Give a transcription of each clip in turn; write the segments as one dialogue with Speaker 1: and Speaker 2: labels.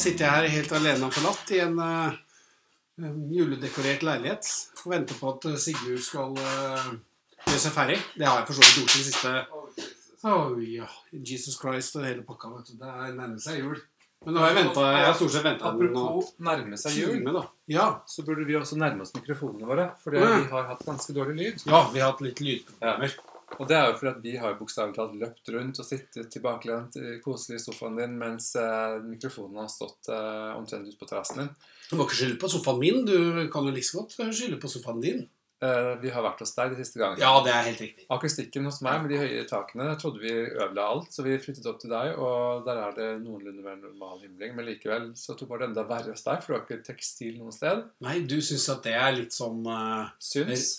Speaker 1: sitter jeg her helt alene og forlatt i en, eh, en juledekorert leilighet og venter på at eh, Sigurd skal eh, gjøre seg ferdig. Det har jeg for så vidt gjort i det siste. Oh, ja. Jesus Christ og hele pakka, vet du. Det er nærmer seg jul. Men nå har jeg ventet, jeg har stort sett venta noen
Speaker 2: Apropos nærme seg jul,
Speaker 1: timer, da. Ja.
Speaker 2: så burde vi også nærme oss mikrofonene våre. Fordi
Speaker 1: Mm.
Speaker 2: vi har hatt ganske dårlig lyd.
Speaker 1: ja, vi har hatt litt lydproblemer.
Speaker 2: Og det er jo fordi at vi har jo bokstavelig talt løpt rundt og sittet tilbakelent i koselig i sofaen din, mens eh, mikrofonen har stått eh, omtrent ute på terrassen din.
Speaker 1: Du må ikke skylde på sofaen min. Du kan jo like så godt skylde på sofaen din.
Speaker 2: Eh, vi har vært hos deg de siste gangene.
Speaker 1: Ja, det er helt riktig.
Speaker 2: Akustikken hos meg med de høye takene jeg trodde vi ødela alt, så vi flyttet opp til deg, og der er det noenlunde mer normal himling. Men likevel så tok bare det enda verre hos deg, for du har ikke tekstil noe sted.
Speaker 1: Nei, du syns at det er litt sånn eh,
Speaker 2: Syns.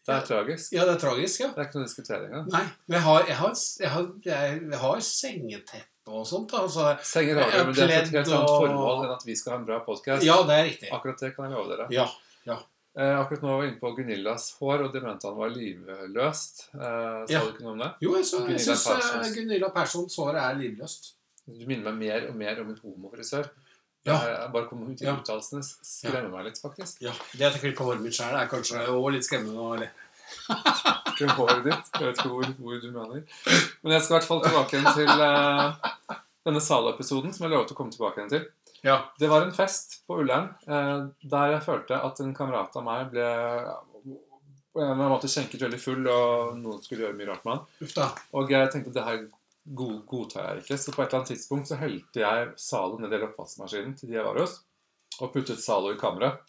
Speaker 2: Det
Speaker 1: Ja.
Speaker 2: er tragisk.
Speaker 1: Ja, det er tragisk, ja.
Speaker 2: Det er ikke noe å diskutere engang.
Speaker 1: Nei, men jeg har, jeg har, jeg har, jeg har sengeteppe og sånt. da, Altså,
Speaker 2: Senger har vi, men det er for et helt
Speaker 1: Pledd og-
Speaker 2: annet formål enn at vi skal ha en bra podkast.
Speaker 1: ja, det er riktig.
Speaker 2: Akkurat det kan jeg love dere.
Speaker 1: Ja.
Speaker 2: Eh, akkurat nå var vi inne på Gunillas hår, og de mente han var livløst. Eh, sa
Speaker 1: Ja.
Speaker 2: du ikke noe om det?
Speaker 1: Jo, jeg, så- jeg
Speaker 2: Gunilla
Speaker 1: syns
Speaker 2: Perssons.
Speaker 1: Gunilla Perssons hår er livløst.
Speaker 2: Du minner meg mer og mer om en homofrisør. Eh,
Speaker 1: Ja.
Speaker 2: Jeg bare kom ut i
Speaker 1: Ja.
Speaker 2: uttalelsene. Skremmer meg litt, faktisk.
Speaker 1: Ja, Det at jeg klipper håret mitt sjøl, er kanskje også litt skremmende. og litt-
Speaker 2: Ikke håret ditt. Jeg vet ikke hvor, hvor du mener. Men jeg skal i hvert fall tilbake igjen til eh, denne Zalo-episoden, som jeg lovet å komme tilbake igjen til.
Speaker 1: Ja.
Speaker 2: Det var en fest på Ullern eh, der jeg følte at en kamerat av meg ble ja, på en eller annen måte skjenket veldig full, og noen skulle gjøre mye rart med han.
Speaker 1: Uff da.
Speaker 2: Og jeg tenkte det her go godtar jeg ikke. Så på et eller annet tidspunkt så helte jeg Zalo ned i oppvaskmaskinen til de jeg var hos, og puttet Zalo i kammeret.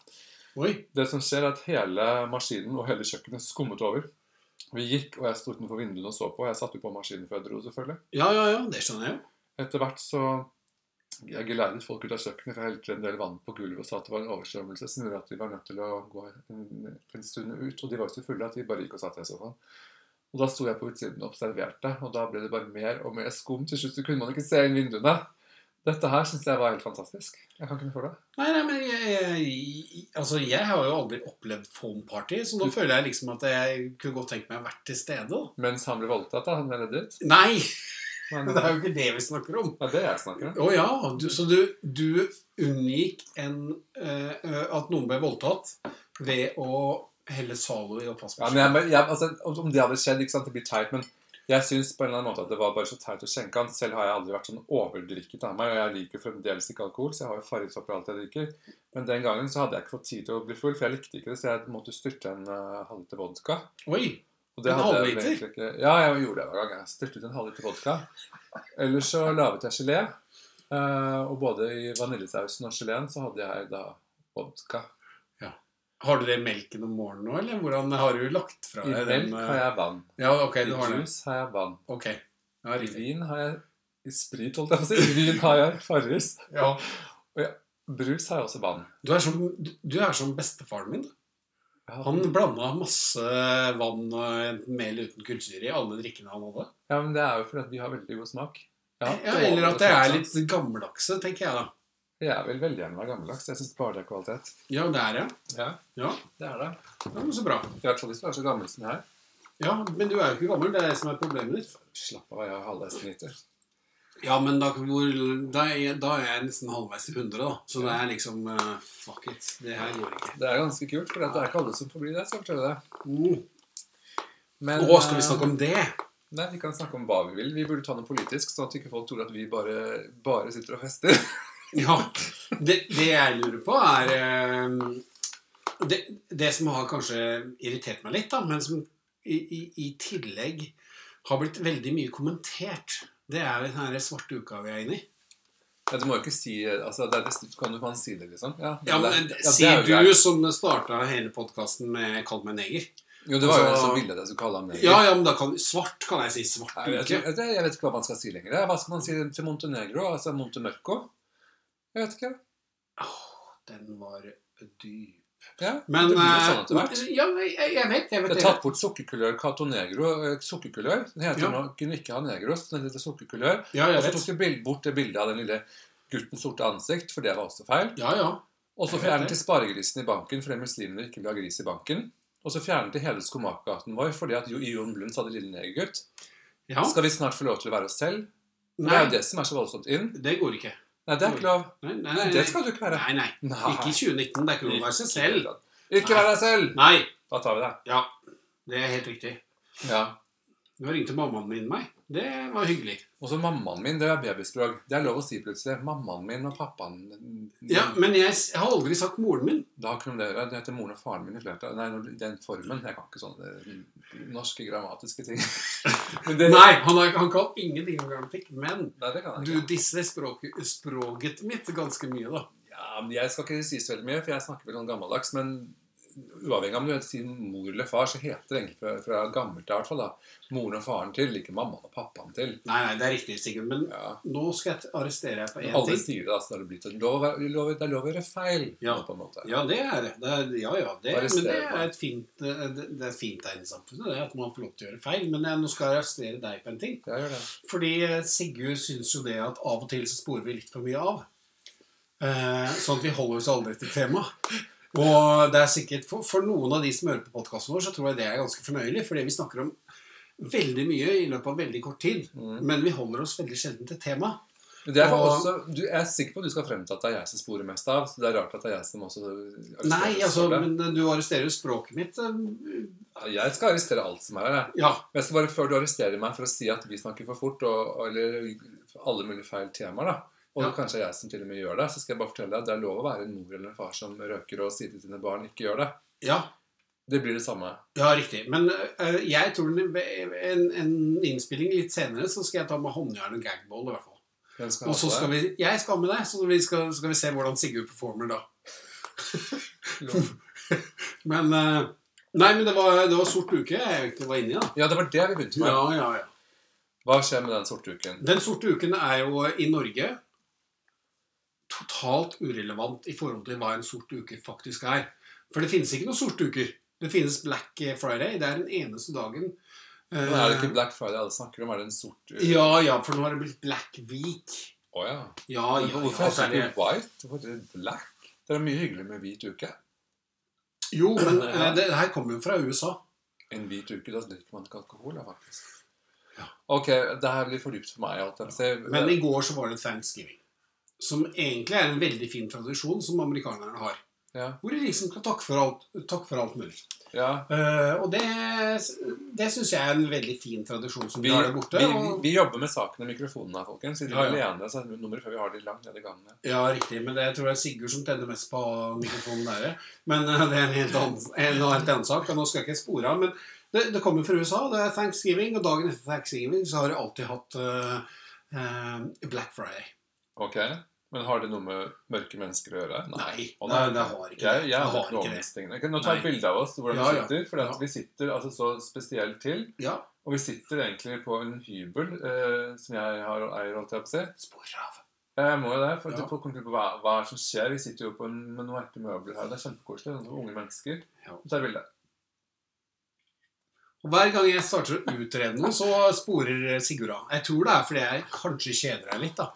Speaker 1: Oi.
Speaker 2: Det som skjer, er at hele maskinen og hele kjøkkenet skummet over. Vi gikk, og jeg sto utenfor vinduene og så på. Jeg satte jo på maskinen før jeg dro, selvfølgelig.
Speaker 1: Ja, ja, ja. Det skjønner jeg jo.
Speaker 2: Etter hvert så jeg geleidet folk ut av kjøkkenet, for jeg helte en del vann på gulvet og sa at det var en overstrømmelse som gjorde at vi var nødt til å gå en, en stund ut. Og de var jo så fulle at de bare gikk og satte seg i sofaen. Og da sto jeg på utsiden og observerte, og da ble det bare mer og mer skum. Til slutt så kunne man ikke se inn vinduene. Dette her syns jeg var helt fantastisk. Jeg kan ikke noe for det.
Speaker 1: Nei, nei, men jeg, jeg, altså, jeg har jo aldri opplevd foam party, så nå føler jeg liksom at jeg kunne godt tenkt meg å vært til stede. da.
Speaker 2: Mens han ble voldtatt, da, han ble dritt.
Speaker 1: Nei!
Speaker 2: Men
Speaker 1: Det
Speaker 2: det
Speaker 1: er jo ikke det vi snakker om.
Speaker 2: er det jeg snakker om.
Speaker 1: Å ja, du, så du, du unngikk en, eh, eh, at noen ble voldtatt ved å helle Zalo i
Speaker 2: Ja, men
Speaker 1: oppvaskmaskinen?
Speaker 2: jeg, jeg, altså, om- om det hadde skjedd, ikke sant, det blir teit, men jeg syns på en eller annen måte at det var bare så teit å skjenke han. Selv har jeg aldri vært sånn overdrikket av meg, og jeg liker fremdeles ikke alkohol, så jeg har jo fargetopper i alt jeg drikker. Men den gangen så hadde jeg ikke fått tid til å bli full, for jeg likte ikke det, så jeg måtte styrte en uh, halvliter vodka.
Speaker 1: Oi!
Speaker 2: Og det
Speaker 1: En
Speaker 2: hadde jeg
Speaker 1: halvliter?
Speaker 2: vel egentlig ikke. Ja, jeg gjorde det hver gang. Jeg styrtet en halvliter vodka. Ellers så laget jeg gelé, eh, og både i vaniljesausen og geleen så hadde jeg da vodka.
Speaker 1: Har du det i melken om morgenen nå, eller? Hvordan har du lagt fra
Speaker 2: I
Speaker 1: deg den?
Speaker 2: melk
Speaker 1: eh,
Speaker 2: har jeg vann.
Speaker 1: Ja, ok,
Speaker 2: I
Speaker 1: du har det.
Speaker 2: juice har jeg vann.
Speaker 1: Ok. Ja,
Speaker 2: I
Speaker 1: riktig.
Speaker 2: vin har jeg I sprit, holdt jeg på å si. I vin har jeg Farris.
Speaker 1: Ja.
Speaker 2: Brus har jeg også vann.
Speaker 1: Du, er som, du- du er som bestefaren min. Han blanda masse vann, eh, enten med eller uten kullsyre, i alle drikkene han hadde.
Speaker 2: Ja, men Det er jo fordi at vi har veldig god smak. Jeg har
Speaker 1: Ja,
Speaker 2: dårlig
Speaker 1: eller at jeg er
Speaker 2: smak,
Speaker 1: litt
Speaker 2: sant?
Speaker 1: gammeldagse, tenker jeg da.
Speaker 2: Jeg vil veldig gjerne være gammeldags. Jeg syns bare det er kvalitet.
Speaker 1: Ja, det er jeg.
Speaker 2: Ja,
Speaker 1: Ja,
Speaker 2: det er det.
Speaker 1: ja men så bra.
Speaker 2: I hvert fall hvis du er så gammel som jeg er.
Speaker 1: Ja, Men du er jo ikke gammel, det er det som er problemet ditt.
Speaker 2: Slapp av, jeg har halvveis liter.
Speaker 1: Ja, men da, hvor, da, er, jeg- da er jeg nesten halvveis til 100, da. Så det er liksom eh, Fuck it. Det her går ikke.
Speaker 2: Det er ganske kult, for det er ikke alle som får bli det. skal jeg fortelle deg.
Speaker 1: Mm.
Speaker 2: Men, eh,
Speaker 1: Å, skal vi snakke om det?
Speaker 2: Nei, Vi kan snakke om hva vi vil. Vi burde ta noe politisk, sånn at ikke folk tror at vi bare, bare sitter og fester.
Speaker 1: Ja. Det, det jeg lurer på, er eh, det, det som har kanskje irritert meg litt, da, men som i, i, i tillegg har blitt veldig mye kommentert, det er den her svarte uka vi er inne i.
Speaker 2: Ja, du må jo ikke si altså, det er distrikt, Kan du kan si det, liksom? Ja,
Speaker 1: Ja,
Speaker 2: det-
Speaker 1: men
Speaker 2: ja, det er
Speaker 1: Sier
Speaker 2: jo greit.
Speaker 1: du som starta hele podkasten med 'Kall meg neger'?
Speaker 2: Jo, det var jo en
Speaker 1: Altså-
Speaker 2: som ville det, som kalte ham neger.
Speaker 1: Ja, ja, men da kan Svart kan jeg si. Svart
Speaker 2: Jeg vet,
Speaker 1: uke.
Speaker 2: ikke, det- jeg vet ikke hva man skal si lenger. Hva skal man si til Montenegro? Altså Montemørco? Jeg vet ikke.
Speaker 1: Åh, den var dyp.
Speaker 2: Ja,
Speaker 1: Men
Speaker 2: det blir jo
Speaker 1: eh,
Speaker 2: sånn etter hvert.
Speaker 1: Ja, men jeg, jeg vet jeg
Speaker 2: Det
Speaker 1: vet
Speaker 2: er
Speaker 1: det.
Speaker 2: tatt bort sukkerkulør, Cato Negro. eh, Sukkerkulør. Den heter
Speaker 1: Ja.
Speaker 2: jo nå kunne ikke ha Negro, så den heter sukkerkulør.
Speaker 1: Ja,
Speaker 2: Og
Speaker 1: jeg
Speaker 2: så
Speaker 1: vet.
Speaker 2: tok de bild- bort det bildet av den lille guttens sorte ansikt, for det var også feil.
Speaker 1: Ja, ja.
Speaker 2: Og så
Speaker 1: Jeg vet
Speaker 2: fjernet
Speaker 1: det.
Speaker 2: de sparegrisen i banken fordi muslimene ikke ville ha gris i banken. Og så fjernet de hele skomakergaten vår fordi at Jo Jon Blund sa det lille negergutt.
Speaker 1: ja.
Speaker 2: Skal vi snart få lov til å være oss selv? For Det
Speaker 1: Nei,
Speaker 2: er jo det som er så voldsomt inn.
Speaker 1: det går ikke.
Speaker 2: Nei, det er ikke lov.
Speaker 1: Nei, nei,
Speaker 2: Nei,
Speaker 1: nei,
Speaker 2: det
Speaker 1: nei.
Speaker 2: skal du ikke være.
Speaker 1: nei, nei.
Speaker 2: Nei.
Speaker 1: Ikke i 2019. Det er ikke lov å være seg selv.
Speaker 2: Ikke vær deg selv!
Speaker 1: Nei.
Speaker 2: Da tar vi deg.
Speaker 1: Ja, det er helt riktig.
Speaker 2: Ja.
Speaker 1: Nå ringte mammaen min meg. Det var hyggelig.
Speaker 2: Og så mammaen min, det er babyspråk. Det er lov å si plutselig. Mammaen min og pappaen
Speaker 1: Ja, Men jeg, s- jeg har aldri sagt moren min.
Speaker 2: Det har ikke noe med det å gjøre. Det heter moren og faren min i flertall. Nei, når- den formen. Jeg kan ikke sånne norske grammatiske ting. Men det,
Speaker 1: Nei, han, har, han kan ingenting om grammatikk. Men
Speaker 2: Nei, det kan
Speaker 1: du
Speaker 2: jeg ikke.
Speaker 1: disser språket, språket mitt ganske mye, da.
Speaker 2: Ja, men jeg skal ikke si så veldig mye, for jeg snakker vel sånn gammeldags. Men uavhengig av om du sier mor eller far, så heter det egentlig fra, fra gammelt av i hvert fall da, moren og faren til, ikke mammaen og pappaen til.
Speaker 1: Nei, nei, det er riktig, Sigurd. Men
Speaker 2: Ja.
Speaker 1: nå skal jeg t- arrestere deg på én
Speaker 2: Alle
Speaker 1: ting.
Speaker 2: sier det, da, så det har blitt en lov, lov, det er lov å gjøre feil.
Speaker 1: Ja.
Speaker 2: på en måte.
Speaker 1: Ja, det er det. det er, ja, ja, det, men det
Speaker 2: Arrestere
Speaker 1: er
Speaker 2: meg.
Speaker 1: et fint, det, det- det er et fint tegn i samfunnet, det er at man får lov til å gjøre feil. Men jeg, nå skal jeg arrestere deg på en ting.
Speaker 2: Jeg gjør det.
Speaker 1: Fordi eh, Sigurd syns jo det at av og til så sporer vi litt for mye av. Eh, sånn at vi holder oss aldri til temaet. Og det er sikkert for, for noen av de som hører på podkasten vår, så tror jeg det er ganske fornøyelig. Fordi vi snakker om veldig mye i løpet av veldig kort tid.
Speaker 2: Mm.
Speaker 1: Men vi holder oss veldig sjelden til temaet.
Speaker 2: Men Det er
Speaker 1: Og-
Speaker 2: også, du, jeg er sikker på at du skal frem til at det er jeg som sporer mest av. Så det er rart at det er jeg som også arresterer
Speaker 1: Nei, altså,
Speaker 2: sporet.
Speaker 1: men eh, du arresterer jo språket mitt. eh,
Speaker 2: Jeg skal arrestere alt som er her. jeg.
Speaker 1: Ja.
Speaker 2: Men jeg skal bare før du arresterer meg for å si at vi snakker for fort, og, og- eller alle mulige feil temaer, da. Og
Speaker 1: Ja.
Speaker 2: kanskje det er jeg som til og med gjør det. Så skal jeg bare fortelle deg at det er lov å være en mor eller en far som røker og sier til sine barn ikke gjør det.
Speaker 1: ja.
Speaker 2: Det blir det samme.
Speaker 1: Ja, riktig. Men øh, jeg tror den, en, en innspilling litt senere så skal jeg ta med håndjern og gagball. i hvert fall.
Speaker 2: Hvem skal
Speaker 1: Og så
Speaker 2: ha
Speaker 1: skal
Speaker 2: det?
Speaker 1: vi, jeg skal ha med deg, så vi skal, så skal vi se hvordan Sigurd performer da.
Speaker 2: Lov.
Speaker 1: Men øh, Nei, men det var, det var sort uke jeg egentlig var inne i. da.
Speaker 2: Ja, det var det vi begynte med.
Speaker 1: Ja, ja, ja.
Speaker 2: Hva skjer med den sorte uken?
Speaker 1: Den sorte uken er jo i Norge totalt urelevant i forhold til hva en sort uke faktisk er. For det finnes ikke noen sorte uker. Det finnes Black Friday. Det er den eneste dagen.
Speaker 2: Nå er det ikke Black Friday alle snakker om? Er det en sort uke?
Speaker 1: Eh. Ja, ja, for nå har det blitt Black Week.
Speaker 2: Å, ja.
Speaker 1: Ja, altså,
Speaker 2: Men
Speaker 1: ja,
Speaker 2: Hvorfor
Speaker 1: ja,
Speaker 2: er det
Speaker 1: særlig.
Speaker 2: ikke white? Hvorfor er det black? Det er mye hyggeligere med hvit uke.
Speaker 1: Jo, men
Speaker 2: Ja.
Speaker 1: eh, det her kommer jo fra USA.
Speaker 2: En hvit uke, da drikker man ikke alkohol, da, faktisk.
Speaker 1: Ja.
Speaker 2: Ok, det her blir for dypt for meg. Alt jeg ser.
Speaker 1: Men i går så var det thanksgiving. Som egentlig er en veldig fin tradisjon som amerikanerne har.
Speaker 2: ja.
Speaker 1: Hvor de liksom skal takke for alt, takke for alt mulig.
Speaker 2: ja.
Speaker 1: Eh, og det, det syns jeg er en veldig fin tradisjon som
Speaker 2: Vi,
Speaker 1: vi har der borte.
Speaker 2: vi, vi,
Speaker 1: og,
Speaker 2: vi jobber med saken og mikrofonen her, folkens. Vi
Speaker 1: Ja,
Speaker 2: driver
Speaker 1: ja.
Speaker 2: alene, så er det nummeret før vi har de langt nede i gangene.
Speaker 1: ja, riktig. Men det tror jeg er Sigurd som tenner mest på mikrofonen der. Men eh, det er en helt annen, en helt annen sak. Og nå skal jeg ikke spore av. Men det, det kommer fra USA. Det er thanksgiving. Og dagen etter thanksgiving så har de alltid hatt eh, eh, Black Friday.
Speaker 2: Ok, Men har det noe med mørke mennesker å gjøre?
Speaker 1: Nei,
Speaker 2: Å,
Speaker 1: nei, det har ikke det.
Speaker 2: jeg, jeg
Speaker 1: Det
Speaker 2: har
Speaker 1: har
Speaker 2: ikke noe
Speaker 1: ikke det.
Speaker 2: overbevisning. Jeg kan- Nå tar jeg et
Speaker 1: Nei.
Speaker 2: bilde av oss hvordan
Speaker 1: Ja,
Speaker 2: vi
Speaker 1: ja.
Speaker 2: sitter. For at
Speaker 1: Ja.
Speaker 2: vi sitter altså så spesielt til.
Speaker 1: Ja.
Speaker 2: Og vi sitter egentlig på en hybel eh, som jeg har og eier, holdt jeg på å si.
Speaker 1: Spor av.
Speaker 2: Ja, Jeg må jo det. for
Speaker 1: Ja.
Speaker 2: å få kontroll på hva, hva er det som skjer. Vi sitter jo på en, med noen ekte møbler her. Det er kjempekoselig. Sånn, unge mennesker.
Speaker 1: Ja.
Speaker 2: Så er det bildet.
Speaker 1: Og Hver gang jeg starter å utrede noe, så sporer Sigurd av. Jeg tror det er fordi jeg kanskje kjeder deg litt, da.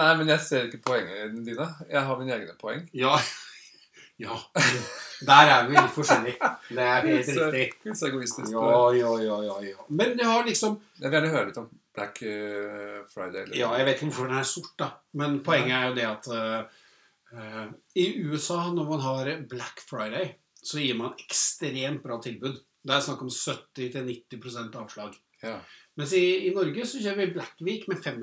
Speaker 2: Nei, men jeg ser ikke poengene dine. Jeg har mine egne poeng.
Speaker 1: Ja. ja. Der er vi litt forskjellige. Det er helt
Speaker 2: Så-
Speaker 1: riktig.
Speaker 2: Gud, så egoistisk.
Speaker 1: Ja, ja, ja, ja, ja. Men jeg har liksom
Speaker 2: Jeg vil gjerne høre litt om Black eh, Friday. Eller.
Speaker 1: Ja, jeg vet ikke hvorfor den er sort, da. Men poenget er jo det at eh, eh, i USA, når man har Black Friday, så gir man ekstremt bra tilbud. Det er snakk om 70-90 avslag.
Speaker 2: Ja.
Speaker 1: Mens i, i Norge så kjører vi Black Week med 25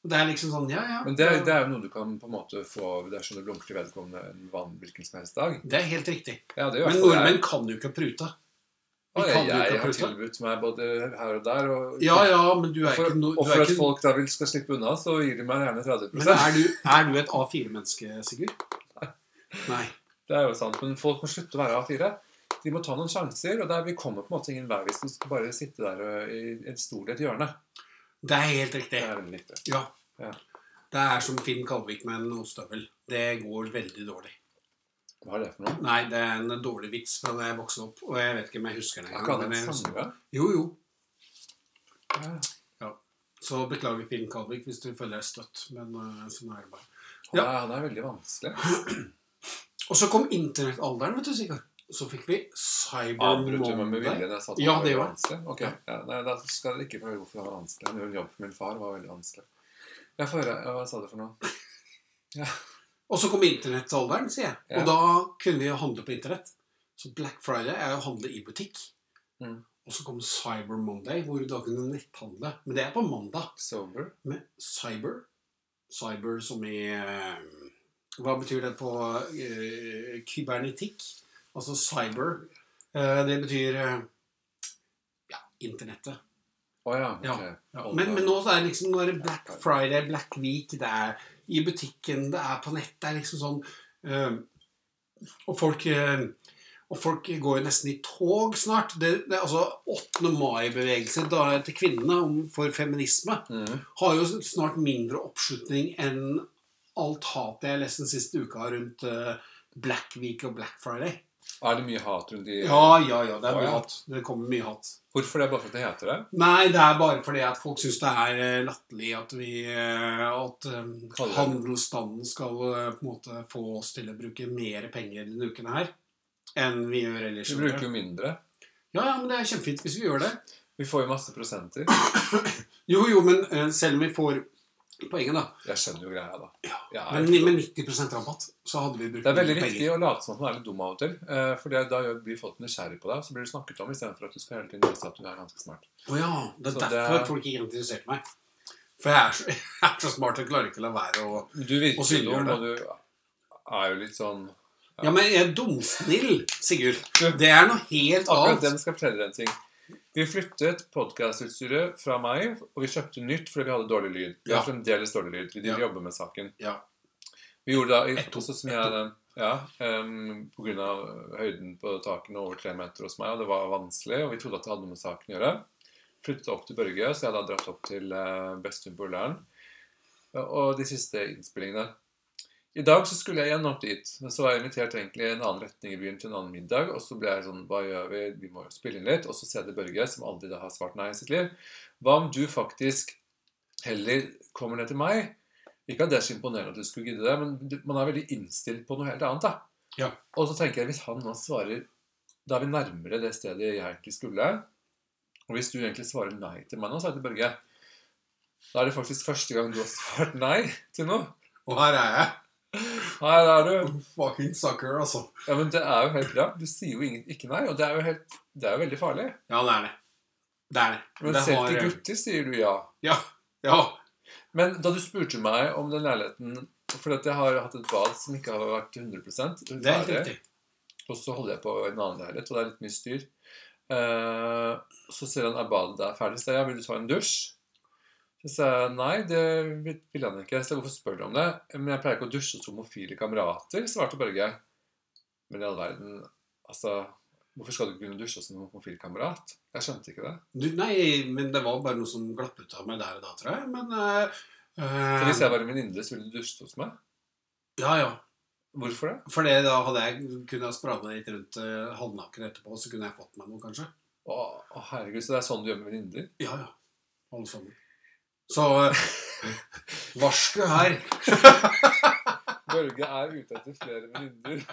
Speaker 1: Og det er liksom sånn, ja, ja.
Speaker 2: Men det, er- det er jo noe du kan på en måte få dersom du blunker til vedkommende en vann hvilken som helst dag.
Speaker 1: Det er helt riktig.
Speaker 2: Ja, det
Speaker 1: Men
Speaker 2: iallfall jeg.
Speaker 1: nordmenn kan jo ikke prute. Vi
Speaker 2: Og
Speaker 1: kan
Speaker 2: jeg,
Speaker 1: jo
Speaker 2: jeg
Speaker 1: ikke
Speaker 2: har
Speaker 1: prute.
Speaker 2: tilbudt meg både her og der. Og,
Speaker 1: Ja, ja, men du
Speaker 2: Og
Speaker 1: er
Speaker 2: for,
Speaker 1: ikke, no,
Speaker 2: og
Speaker 1: du
Speaker 2: for
Speaker 1: er
Speaker 2: at
Speaker 1: ikke
Speaker 2: folk da vil skal slippe unna, så gir de meg gjerne 30
Speaker 1: Men er du, er du et A4-menneske, Sigurd? Nei.
Speaker 2: Det er jo sant, men folk må slutte å være A4. De må ta noen sjanser, og der vi kommer på en måte ingen vei hvis du skal bare sitte der ø, i en stol i et hjørne.
Speaker 1: Det er helt
Speaker 2: Det
Speaker 1: riktig.
Speaker 2: er veldig viktig.
Speaker 1: Ja.
Speaker 2: Ja.
Speaker 1: Det er som Finn Kalvik med en ostehøvel. Det går veldig dårlig.
Speaker 2: Hva er det for noe?
Speaker 1: Nei, det er en dårlig vits fra da jeg vokste opp, og jeg vet ikke om jeg husker den
Speaker 2: Er ikke
Speaker 1: engang.
Speaker 2: han
Speaker 1: men
Speaker 2: en
Speaker 1: jeg husker-
Speaker 2: sanger?
Speaker 1: Jo, jo.
Speaker 2: Ja.
Speaker 1: Så beklager Finn Kalvik hvis du føler deg støtt, men eh, sånn er det bare.
Speaker 2: Han, er, han er veldig vanskelig.
Speaker 1: Og så kom internettalderen, vet du, Sigurd. Så fikk vi Cyber
Speaker 2: Avbrøt du meg med
Speaker 1: Monday.
Speaker 2: vilje da jeg sa at han
Speaker 1: Ja,
Speaker 2: var
Speaker 1: det
Speaker 2: veldig
Speaker 1: gjør jeg.
Speaker 2: vanskelig? Ok, ja. Nei, da skal dere ikke få høre hvorfor han var vanskelig. Han gjorde en jobb for min far, og var veldig vanskelig. Jeg får høre. Ja, Hva sa du for noe?
Speaker 1: Og så kom internettalderen, sier jeg.
Speaker 2: Ja.
Speaker 1: Og da kunne vi jo handle på internett. Så Black Friday er jo å handle i butikk.
Speaker 2: Mm.
Speaker 1: Og så kom Cyber Monday, hvor du da kunne netthandle. Men det er på mandag.
Speaker 2: Sober?
Speaker 1: Med cyber. Cyber som i eh, Hva betyr det på eh, kybernetikk? Altså cyber. Eh, det betyr eh, ja, internettet.
Speaker 2: Å ja. ok.
Speaker 1: Ja. Men, men nå så er det liksom nå er det Black Friday, Black Week, det er i butikken, det er på nett, det er liksom sånn eh, og, folk, eh, og folk går jo nesten i tog snart. Det, det er altså 8. mai-bevegelsen da til kvinnene om- for feminisme
Speaker 2: Mhm.
Speaker 1: har jo snart mindre oppslutning enn alt hatet jeg har lest den siste uka rundt eh, Black Week og Black Friday.
Speaker 2: Er det mye hat rundt de
Speaker 1: Ja, ja, ja, det er
Speaker 2: Å,
Speaker 1: mye
Speaker 2: ja.
Speaker 1: hat. Det kommer mye hat.
Speaker 2: Hvorfor det? Bare fordi det heter det?
Speaker 1: Nei, det er bare fordi at folk syns det er eh, latterlig at vi eh, At eh,
Speaker 2: Kaller det.
Speaker 1: handelsstanden skal eh, på en måte få oss til å bruke mer penger denne uken her enn vi gjør ellers.
Speaker 2: Vi bruker jo mindre.
Speaker 1: Ja, ja, men det er kjempefint hvis vi gjør det.
Speaker 2: Vi får jo masse prosenter.
Speaker 1: Jo, jo, men eh, selv om vi får poenget, da.
Speaker 2: Jeg skjønner jo greia, da. Jeg er
Speaker 1: Men
Speaker 2: ikke-
Speaker 1: med 90 rabatt, så hadde vi brukt
Speaker 2: Det er veldig
Speaker 1: mindre
Speaker 2: riktig å late som at man er litt dum av og til. eh, For det- da gjør- blir folk nysgjerrig på deg, og så blir du snakket om istedenfor at du skal hele tiden vise at du er ganske smart.
Speaker 1: Å ja. Det er
Speaker 2: Så det
Speaker 1: derfor
Speaker 2: er-
Speaker 1: folk ikke interesserte meg. For jeg er så, jeg er så smart, jeg klarer ikke å la være å
Speaker 2: Du virker
Speaker 1: Og
Speaker 2: jo
Speaker 1: synliggjør
Speaker 2: dum,
Speaker 1: det.
Speaker 2: og du er jo litt sånn
Speaker 1: Ja, men jeg er dumsnill, Sigurd.
Speaker 2: Du-
Speaker 1: Det er noe helt
Speaker 2: Akkurat
Speaker 1: annet.
Speaker 2: den skal jeg fortelle deg en ting. Vi flyttet podkastutstyret fra meg, og vi kjøpte nytt fordi vi hadde dårlig lyd. Vi har
Speaker 1: Ja.
Speaker 2: fremdeles dårlig lyd. Vi driver
Speaker 1: Ja.
Speaker 2: og jobber med saken.
Speaker 1: Ja.
Speaker 2: Vi gjorde da
Speaker 1: Ett
Speaker 2: også som
Speaker 1: et
Speaker 2: jeg ja, um, på grunn av høyden på takene over tre meter hos meg, og det var vanskelig, og vi trodde at det hadde noe med saken å gjøre. Flyttet opp til Børge, så jeg hadde dratt opp til eh, Bestun på Ullern. Og de siste innspillingene. I dag så skulle jeg igjen opp dit, men så var jeg invitert egentlig i en annen retning i byen til en annen middag, og så ble jeg sånn, hva gjør vi, vi må jo spille inn litt, og så ser jeg det Børge, som aldri da har svart nei i sitt liv. Hva om du faktisk heller kommer ned til meg, ikke at det er så imponerende at du skulle gidde det, men du- man er veldig innstilt på noe helt annet. da.
Speaker 1: Ja.
Speaker 2: Og så tenker jeg, hvis han nå svarer Da er vi nærmere det stedet jeg egentlig skulle. Og hvis du egentlig svarer nei til meg nå, så er det Børge. Da er det faktisk første gang du har svart nei til noe.
Speaker 1: Og her er jeg.
Speaker 2: Nei, da er du
Speaker 1: Fucking sucker, altså.
Speaker 2: Ja, men det er jo helt bra. Du sier jo ingen, ikke nei, og det er jo, helt, det er jo veldig farlig.
Speaker 1: Ja, det er det. Det er det.
Speaker 2: Men
Speaker 1: det
Speaker 2: selv
Speaker 1: har-
Speaker 2: til gutter sier du ja.
Speaker 1: Ja. ja.
Speaker 2: Men da du spurte meg om den leiligheten For at jeg har hatt et bad som ikke har vært 100
Speaker 1: Det er helt
Speaker 2: ferdig,
Speaker 1: riktig.
Speaker 2: Og så holder jeg på i en annen leilighet, og det er litt mye styr. Eh, så sier han er badet der ferdig. Så jeg vil du ta en dusj? Så sa jeg nei, det vil vil han ikke. Så jeg, hvorfor spør du om det? Men jeg pleier ikke å dusje hos homofile kamerater, svarte Børge. Men i all verden, altså Hvorfor skal du ikke kunne dusje hos en homofil kamerat? Jeg skjønte ikke det.
Speaker 1: Du, nei, men det var bare noe som glapp ut av meg der og da, tror jeg. Men eh, eh,
Speaker 2: Så hvis jeg var en venninne, så ville du dusjet hos meg?
Speaker 1: Ja, ja.
Speaker 2: Hvorfor det?
Speaker 1: For det, da hadde jeg kunne jeg sprada litt rundt eh, halvnaken etterpå, så kunne jeg fått meg noe, kanskje.
Speaker 2: Å, å, herregud, så det er sånn du gjør med venninner?
Speaker 1: Ja, ja. Alle sammen. Så eh, varsko her.
Speaker 2: Børge er ute etter flere venninner.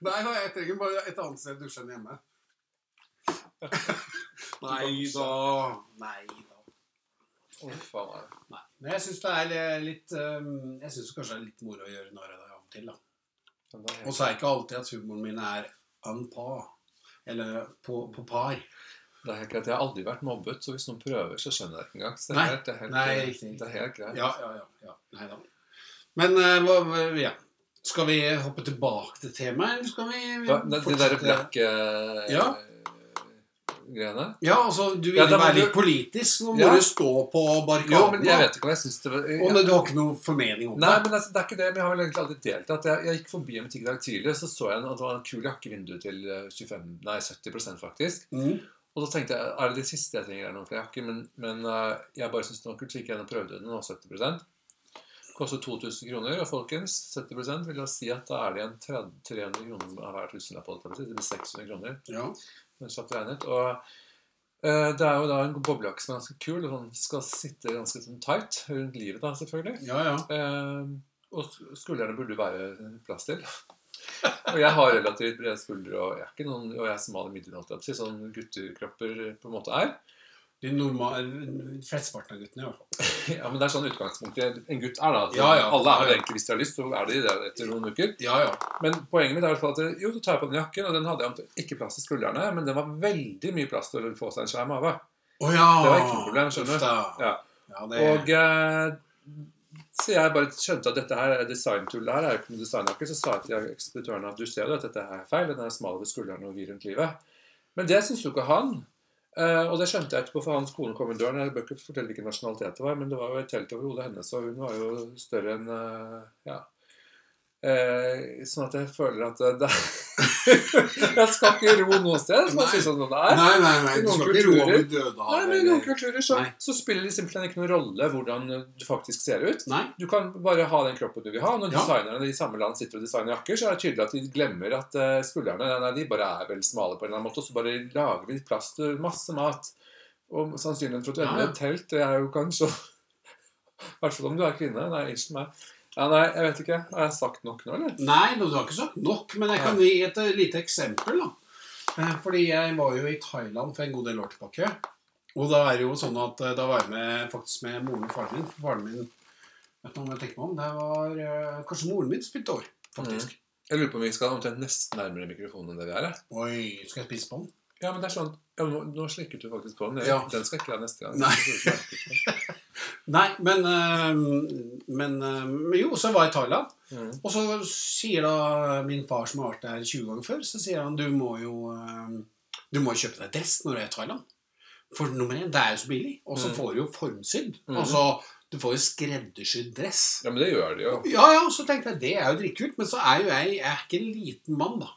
Speaker 1: Nei, nei, jeg trenger bare et annet sted å dusje enn hjemme. Nei da. Nei da.
Speaker 2: Å, faen meg.
Speaker 1: Nei. Men jeg syns det er li- litt ehm, Jeg synes kanskje det er litt moro å gjøre narr av det av og til. da.
Speaker 2: Men det er helt-
Speaker 1: Og så er det ikke alltid at humoren min er en par. Eller på, på par.
Speaker 2: Det er helt greit. Jeg har aldri vært mobbet, så hvis noen prøver, så skjønner jeg det ikke engang. Så det
Speaker 1: Nei.
Speaker 2: er helt, det er helt,
Speaker 1: Nei, riktig.
Speaker 2: Det er helt greit.
Speaker 1: Ja, ja, ja. ja. Nei da. Men eh, hva, hva- ja. skal vi hoppe tilbake til temaet, eller skal vi
Speaker 2: Hva, det, det derre black
Speaker 1: Ja.
Speaker 2: eh, greiene
Speaker 1: Ja, altså, du vil
Speaker 2: Ja, da må
Speaker 1: være
Speaker 2: du-
Speaker 1: litt politisk. Nå må
Speaker 2: Ja.
Speaker 1: du stå på barrikadene.
Speaker 2: Jo, men jeg vet ikke hva jeg syns det var
Speaker 1: Og
Speaker 2: jeg,
Speaker 1: men du har ikke noe formening om
Speaker 2: Nei,
Speaker 1: det?
Speaker 2: men altså, det er ikke det. Men jeg har vel egentlig aldri deltatt. Jeg, jeg gikk forbi en butikk i dag tidlig, og så så jeg en, at det var en kul jakke i vinduet til eh, 25, nei, 70 faktisk.
Speaker 1: Mm.
Speaker 2: Og så tenkte jeg er det det siste jeg trenger er noen flere jakker, men, men eh, jeg bare syns det var kult, så gikk jeg inn og prøvde den, og 70 Kostet 2000 kroner, og folkens, 70 vil da si at da er det igjen 30 300 kroner av hver tusenlapp. holdt jeg på å si. Det blir 600 kroner.
Speaker 1: Ja.
Speaker 2: men kjapt regnet. Og eh, det er jo da en boblejakke som er ganske kul, og den skal sitte ganske sånn tight rundt livet, da, selvfølgelig.
Speaker 1: ja, ja.
Speaker 2: Eh, og sk- skuldrene burde være plass til. Og jeg har relativt brede skuldre, og jeg er ikke noen, og jeg er smal i midten, holdt jeg på å si, sånn guttekropper på en måte er.
Speaker 1: De normale, flesteparten av guttene, i hvert fall.
Speaker 2: Ja, men det er sånn utgangspunktet en gutt er, da. At
Speaker 1: Ja, ja.
Speaker 2: Alle er jo egentlig, hvis de har lyst, så er de det etter noen uker.
Speaker 1: Ja, ja.
Speaker 2: Men poenget mitt er i hvert fall at jo, du tar på den jakken, og den hadde jeg omtrent ikke plass til skuldrene, men den var veldig mye plass til å få seg en svær mage.
Speaker 1: Å ja!
Speaker 2: Det var ikke noe problem, skjønner du.
Speaker 1: Uff da.
Speaker 2: Ja.
Speaker 1: Ja, det,
Speaker 2: Og eh, så jeg bare skjønte at dette her designtullet her er jo ikke noe designjakke, så sa jeg til ekspeditøren at du ser jo at dette her er feil, den er smal ved skuldrene og vid rundt livet. Men det syns jo ikke han. Eh, og det skjønte jeg etterpå, for hans kone kom i døren. Jeg bør ikke fortelle hvilken nasjonalitet det var, men det var jo et telt over hodet hennes, og hun var jo større enn eh, Ja. Eh, sånn at jeg føler at eh, det Jeg skal ikke ro noe sted, som jeg synes om det er.
Speaker 1: Nei, nei, nei,
Speaker 2: i
Speaker 1: du
Speaker 2: noen
Speaker 1: skal ikke roe
Speaker 2: kulturer-
Speaker 1: over døde
Speaker 2: Nei, men I noen kulturer så,
Speaker 1: Nei.
Speaker 2: så spiller det simpelthen ikke noen rolle hvordan du faktisk ser ut.
Speaker 1: Nei.
Speaker 2: Du kan bare ha den kroppen du vil ha. Når
Speaker 1: Ja.
Speaker 2: designerne i samme land sitter og designer jakker, så er det tydelig at de glemmer at eh, skuldrene nei, nei, de bare er vel smale på en eller annen måte, og så bare lager de plass til masse mat. Og sannsynligheten for at du ender
Speaker 1: Ja.
Speaker 2: med et telt, det er jo kanskje I hvert fall om du er kvinne. Nei, unnskyld meg. Ja, nei, jeg vet ikke. Har jeg sagt nok nå, eller?
Speaker 1: Nei, men du har ikke sagt nok, men jeg kan gi et eh, lite eksempel. da. Eh, Fordi jeg var jo i Thailand for en god del år tilbake. Og da er det jo sånn at eh, da var jeg med, faktisk med moren og faren min. For faren min vet du hva jeg tenker meg om, det var eh, kanskje moren min som fylte år, faktisk.
Speaker 2: Jeg lurer på om vi skal omtrent nesten nærmere mikrofonen enn det vi er. jeg.
Speaker 1: Oi, skal jeg spise på den?
Speaker 2: Ja, men det er sånn ja, nå, nå slikker du faktisk på den. Jeg,
Speaker 1: Ja.
Speaker 2: Den skal ikke jeg ha neste gang.
Speaker 1: Nei. Nei, men, eh, men, eh, men jo, så var jeg i Thailand.
Speaker 2: Mm.
Speaker 1: Og så sier da min far, som har vært der 20 ganger før, så sier han du må jo eh, du må jo kjøpe deg dress når du er i Thailand. For nummer én, det er jo så billig. Og så
Speaker 2: Mm.
Speaker 1: får du jo formsydd.
Speaker 2: Mm.
Speaker 1: Altså, du får jo skreddersydd dress.
Speaker 2: Ja, men det gjør de jo.
Speaker 1: Ja, ja, så tenkte jeg, det er jo dritkult, men så er jo jeg, jeg er ikke en liten mann, da.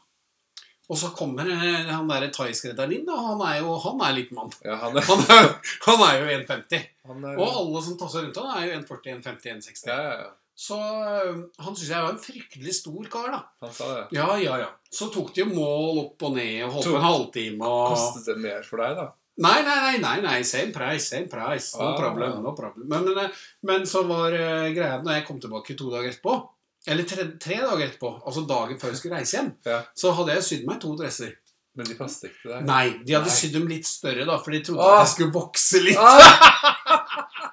Speaker 1: Og så kommer eh, han derre thaiskredderen inn, da. Han er jo han er en liten mann.
Speaker 2: Ja, han er,
Speaker 1: Han er, han er jo 1,50.
Speaker 2: han er
Speaker 1: Og alle som tasser rundt han, er jo 1,40, 1,50, 1,60.
Speaker 2: ja, ja, ja.
Speaker 1: Så eh, han syns jeg var en fryktelig stor kar, da.
Speaker 2: Han sa det.
Speaker 1: Ja, ja, ja. Så tok de jo mål opp og ned og holdt
Speaker 2: Tok-
Speaker 1: på en halvtime og
Speaker 2: Kostet det mer for deg, da?
Speaker 1: Nei, nei, nei, nei, nei, same price, same price. No
Speaker 2: Ah.
Speaker 1: problem, no problem. Men, men, eh, men så var eh, greia når jeg kom tilbake to dager etterpå, eller tre, tre dager etterpå, altså dagen før jeg skulle reise hjem,
Speaker 2: Ja.
Speaker 1: så hadde jeg sydd meg to dresser.
Speaker 2: Men de passet ikke til deg?
Speaker 1: Nei, de hadde
Speaker 2: Nei.
Speaker 1: sydd dem litt større, da, for de trodde
Speaker 2: Ah.
Speaker 1: at jeg skulle vokse litt.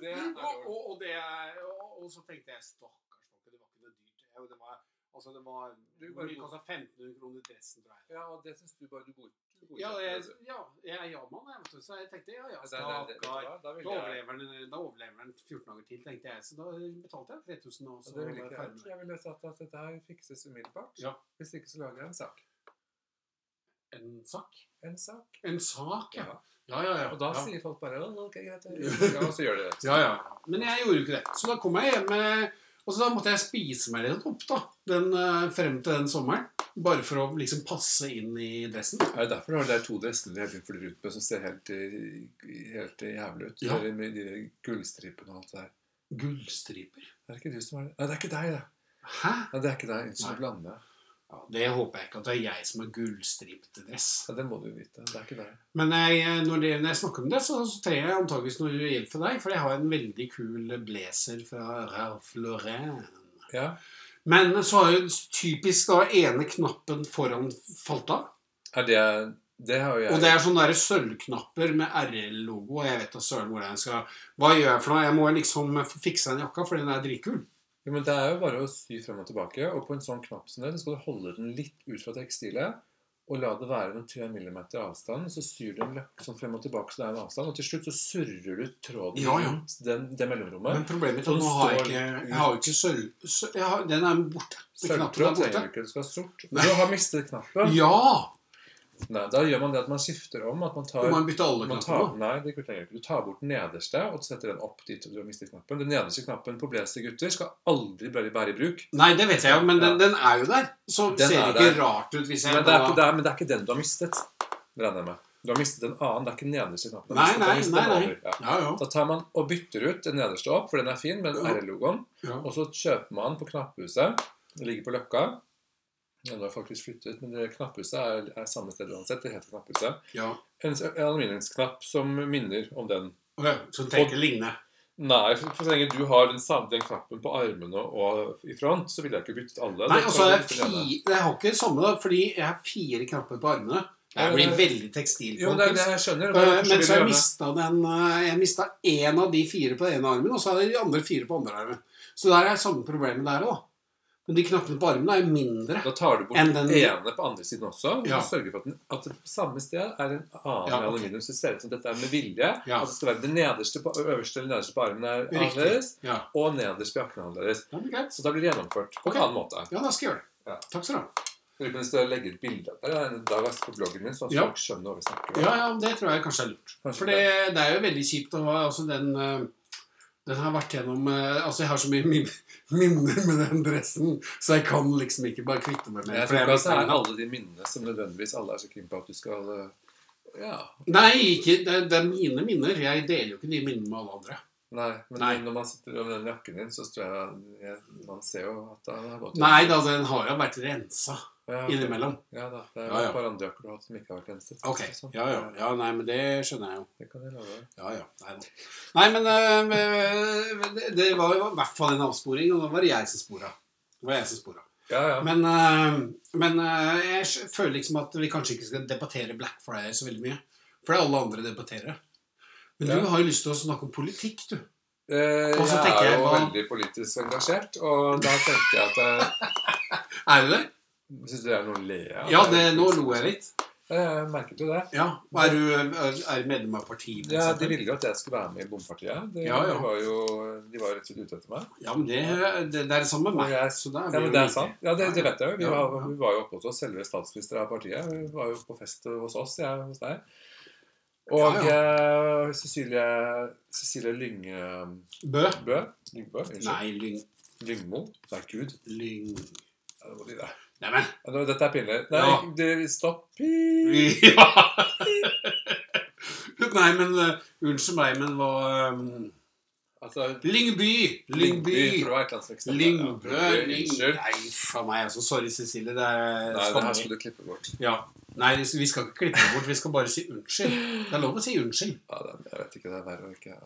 Speaker 2: Det er
Speaker 1: Og,
Speaker 2: jo-
Speaker 1: og, og, det, er- og, og så tenkte jeg stakkars folk, det var ikke noe dyrt. Jeg- Det var, altså, det var
Speaker 2: Du
Speaker 1: Hvor
Speaker 2: bare-
Speaker 1: mye kosta 1500 kroner dressen, tror jeg?
Speaker 2: Ja, og det syns du bare du god- du godkjente.
Speaker 1: Ja, jeg,
Speaker 2: det.
Speaker 1: ja, jeg er ja-mann, jeg, vet du. Så jeg tenkte ja, ja,
Speaker 2: Altså, Det er- det- det-
Speaker 1: stakkar.
Speaker 2: da- da
Speaker 1: Da
Speaker 2: ville jeg-
Speaker 1: overlever den- da overlever den 14 dager til, tenkte jeg. Så da betalte jeg 3000, og
Speaker 2: Ja,
Speaker 1: så
Speaker 2: det
Speaker 1: var
Speaker 2: ville
Speaker 1: jeg
Speaker 2: ikke jeg
Speaker 1: ferdig.
Speaker 2: gjort. Jeg ville sagt at dette her fikses umiddelbart.
Speaker 1: Ja.
Speaker 2: Hvis ikke, så lager jeg en sak.
Speaker 1: En sak?
Speaker 2: En sak.
Speaker 1: En sak, ja.
Speaker 2: Ja.
Speaker 1: Ja, ja, ja.
Speaker 2: Og da
Speaker 1: ja.
Speaker 2: sier folk bare «Å, ok, greit. jeg gjør det». Ja, og så gjør de det.
Speaker 1: ja, ja. Men jeg gjorde jo ikke det. Så da kom jeg hjem eh, Og så da måtte jeg spise meg litt opp, da. Den, eh, frem til den sommeren. Bare for å liksom passe inn i dressen.
Speaker 2: Er det derfor du har de der to dressene du hele tiden flyr ut med, som ser helt, eh, helt jævlig ut?
Speaker 1: Ja.
Speaker 2: Eller Med de der gullstripene og alt det der.
Speaker 1: Gullstriper.
Speaker 2: Det er ikke du som er det. Nei, det er ikke deg, det.
Speaker 1: Hæ?
Speaker 2: Nei, det er ikke deg. Unnskyld,
Speaker 1: Nei.
Speaker 2: jeg blander.
Speaker 1: Ja, det håper jeg ikke at det er jeg som har gullstripete dress.
Speaker 2: Ja, det må du vite. Det er ikke deg.
Speaker 1: Men jeg, når, det, når jeg snakker om det, så, så trenger jeg antageligvis noe hjelp fra deg. For jeg har en veldig kul blazer fra Ralph Lauren.
Speaker 2: Ja.
Speaker 1: Men så har jo typisk da ene knappen foran falt av.
Speaker 2: Er det Det har jo jeg
Speaker 1: Og det er sånne der sølvknapper med RL-logo. Og jeg vet da søren hvor jeg skal Hva gjør jeg for noe? Jeg må liksom fikse den jakka, for den er dritkul.
Speaker 2: jo, Men det er jo bare å sy frem og tilbake. Og på en sånn knapp som det, så skal du holde den litt ut fra tekstilet. Og la det være noen 3 mm avstand. Så syr du den løk- sånn frem og tilbake, så det er en avstand. Og til slutt så surrer du tråden
Speaker 1: Ja, ja.
Speaker 2: rundt den, det mellomrommet.
Speaker 1: Men problemet mitt er
Speaker 2: Så
Speaker 1: at nå
Speaker 2: den
Speaker 1: har jeg
Speaker 2: står
Speaker 1: ikke,
Speaker 2: ut.
Speaker 1: jeg har jo ikke sølv... sø- jeg har, den er borte. Den knappen er
Speaker 2: Sølvtråd trenger
Speaker 1: borte.
Speaker 2: du ikke. Du skal ha sort. Men Du har mistet knappen.
Speaker 1: Ja!
Speaker 2: Nei, da gjør man det at man skifter om. At man
Speaker 1: Må
Speaker 2: tar
Speaker 1: man bytte alle
Speaker 2: Man
Speaker 1: knappene?
Speaker 2: tar, nei, det trenger du ikke. Du tar bort den nederste og setter den opp dit du har mistet knappen. Den nederste knappen på blazer gutter skal aldri bli bære i bruk.
Speaker 1: Nei, det vet jeg jo, men den, den er jo der. Så
Speaker 2: Den
Speaker 1: ser
Speaker 2: er
Speaker 1: det ikke
Speaker 2: der.
Speaker 1: rart ut hvis jeg
Speaker 2: Men det er
Speaker 1: da-
Speaker 2: ikke, det er, men det er ikke den du har mistet, regner jeg med. Du har mistet en annen. Det er ikke den nederste knappen. Du har
Speaker 1: Nei,
Speaker 2: mistet- du har
Speaker 1: nei,
Speaker 2: mistet
Speaker 1: nei.
Speaker 2: den
Speaker 1: nei.
Speaker 2: over, ja.
Speaker 1: Ja, ja.
Speaker 2: Da tar man og bytter ut den nederste opp, for den er fin, med
Speaker 1: Ja.
Speaker 2: RL-logoen.
Speaker 1: ja.
Speaker 2: Og så kjøper man på Knapphuset. Det ligger på Løkka. Ja, Nå har jeg faktisk flyttet, men det Knapphuset er, er samme sted uansett. Det heter Knapphuset.
Speaker 1: ja.
Speaker 2: En s- en aluminiumsknapp som minner om den
Speaker 1: Ok, Så den tenker lignende.
Speaker 2: Nei, for, for så lenge du har den, samme, den knappen på armene og i front, så ville jeg ikke byttet alle.
Speaker 1: Nei,
Speaker 2: Da
Speaker 1: og så
Speaker 2: tar
Speaker 1: er
Speaker 2: du
Speaker 1: jeg
Speaker 2: den ene.
Speaker 1: fire Jeg har ikke det samme, da, fordi jeg har fire knapper på armene. Jeg blir veldig tekstil,
Speaker 2: Jo, det er det jeg skjønner. og det er
Speaker 1: Eh,
Speaker 2: derfor
Speaker 1: Men
Speaker 2: vil
Speaker 1: så har jeg
Speaker 2: jeg gjerne-
Speaker 1: mista den eh, Jeg mista én av de fire på den ene armen, og så har jeg de andre fire på andre armen. Så der er det samme problemet der òg. Men de knappene på armene er jo mindre.
Speaker 2: Da tar du bort
Speaker 1: enn
Speaker 2: den
Speaker 1: den-
Speaker 2: ene på andre siden også. Og
Speaker 1: Ja.
Speaker 2: sørger for at, den, at det på samme sted er en annen
Speaker 1: Ja,
Speaker 2: med
Speaker 1: ok.
Speaker 2: aluminium. Så det ser ut som dette er med vilje.
Speaker 1: Ja.
Speaker 2: At det skal være det nederste på, øverste eller nederste på armen er
Speaker 1: Riktig.
Speaker 2: annerledes.
Speaker 1: Ja,
Speaker 2: Og nederst på jakken er annerledes.
Speaker 1: ja, men greit.
Speaker 2: Så da blir det gjennomført på
Speaker 1: Ok.
Speaker 2: en annen måte.
Speaker 1: ja da skal jeg gjøre det.
Speaker 2: Ja.
Speaker 1: Takk skal du ha.
Speaker 2: Du kunne stå og legge et bilde av det en dag altså, på bloggen min, sånn at
Speaker 1: Ja.
Speaker 2: folk skjønner hva vi snakker om.
Speaker 1: Ja, ja, det tror jeg kanskje er lurt.
Speaker 2: Kanskje
Speaker 1: For det, det er jo veldig kjipt å ha altså den eh, den har vært gjennom eh, Altså, jeg har så mye min- minner med den dressen, så jeg kan liksom ikke bare kvitte meg med den.
Speaker 2: Men jeg
Speaker 1: for jeg
Speaker 2: tror ikke at det
Speaker 1: mister den.
Speaker 2: er alle de minnene som nødvendigvis alle er så keen på at du skal eh, Ja.
Speaker 1: Nei, ikke, det, det er mine minner. Jeg deler jo ikke de minnene med alle andre.
Speaker 2: Nei. Men
Speaker 1: Nei.
Speaker 2: når man sitter over den jakken din, så tror jeg, jeg Man ser jo at det har gått
Speaker 1: Nei da, den har jo vært rensa
Speaker 2: ja,
Speaker 1: innimellom.
Speaker 2: Ja da. Det er
Speaker 1: Ja, ja.
Speaker 2: et par andre jakker du har hatt som ikke har vært renset.
Speaker 1: Ok,
Speaker 2: Sånn.
Speaker 1: ja, ja. ja, nei, men det skjønner jeg jo.
Speaker 2: Det kan jeg love deg.
Speaker 1: Ja, ja. Nei, da. nei men eh, det, det var jo i hvert fall en avsporing, og da var det jeg som spora. Det var jeg som spora.
Speaker 2: Ja, ja.
Speaker 1: Men, eh, men eh, jeg skj- føler liksom at vi kanskje ikke skal debattere Black Friday så veldig mye. For det er alle andre debatterer. Men
Speaker 2: Ja.
Speaker 1: du har jo lyst til å snakke om politikk, du.
Speaker 2: Eh,
Speaker 1: Og så
Speaker 2: jeg
Speaker 1: tenker
Speaker 2: er
Speaker 1: jeg
Speaker 2: jo
Speaker 1: hva-
Speaker 2: veldig politisk engasjert, og da tenker jeg at
Speaker 1: Er du det?
Speaker 2: Syns du det er noe å le av?
Speaker 1: Ja, det, nå lo jeg litt.
Speaker 2: Ja, Jeg merket jo det.
Speaker 1: Ja, og Er du er, er du medlem av partiet? for
Speaker 2: Ja,
Speaker 1: eksempel?
Speaker 2: De ville jo at jeg skulle være med i Bompartiet. De,
Speaker 1: Ja, ja.
Speaker 2: de var jo de var jo rett og slett ute etter meg.
Speaker 1: Ja, men det, det, det er det samme med meg.
Speaker 2: Og jeg-
Speaker 1: Så da
Speaker 2: Ja,
Speaker 1: vi
Speaker 2: men Det
Speaker 1: jo
Speaker 2: er sant. Ja, det, det vet jeg jo. Vi
Speaker 1: Ja,
Speaker 2: var,
Speaker 1: ja.
Speaker 2: vi var jo oppe hos oss. Selve statsminister av partiet Hun var jo på fest hos oss, jeg hos deg. Og
Speaker 1: Ja,
Speaker 2: eh, Cecilie, Cecilie Lynge
Speaker 1: like. Bø?
Speaker 2: Bø Lyngbø? Unnskyld.
Speaker 1: Nei, lyng...
Speaker 2: Lyngmo? Nei, gud.
Speaker 1: lyng.
Speaker 2: Ja, det var de der.
Speaker 1: Neimen
Speaker 2: Ja, nå, Dette er pinlig. Nei,
Speaker 1: Ja.
Speaker 2: det- stopp. Pip.
Speaker 1: Ja! Nei, men eh, Unnskyld meg, men hva um,
Speaker 2: Altså,
Speaker 1: Lyngby! Lyngby!
Speaker 2: for det var et eller annet som ikke stemte.
Speaker 1: Lyngbø
Speaker 2: Ja,
Speaker 1: Lyng...
Speaker 2: Unnskyld.
Speaker 1: Nei, faen meg. Altså, sorry, Cecilie. Det er
Speaker 2: Nei, det her
Speaker 1: skamlig.
Speaker 2: skulle du klippe bort.
Speaker 1: Ja. Nei, vi skal- vi skal ikke klippe det bort. Vi skal bare si unnskyld. Det er lov å si unnskyld.
Speaker 2: Ja, det, jeg vet ikke, det er verre å ikke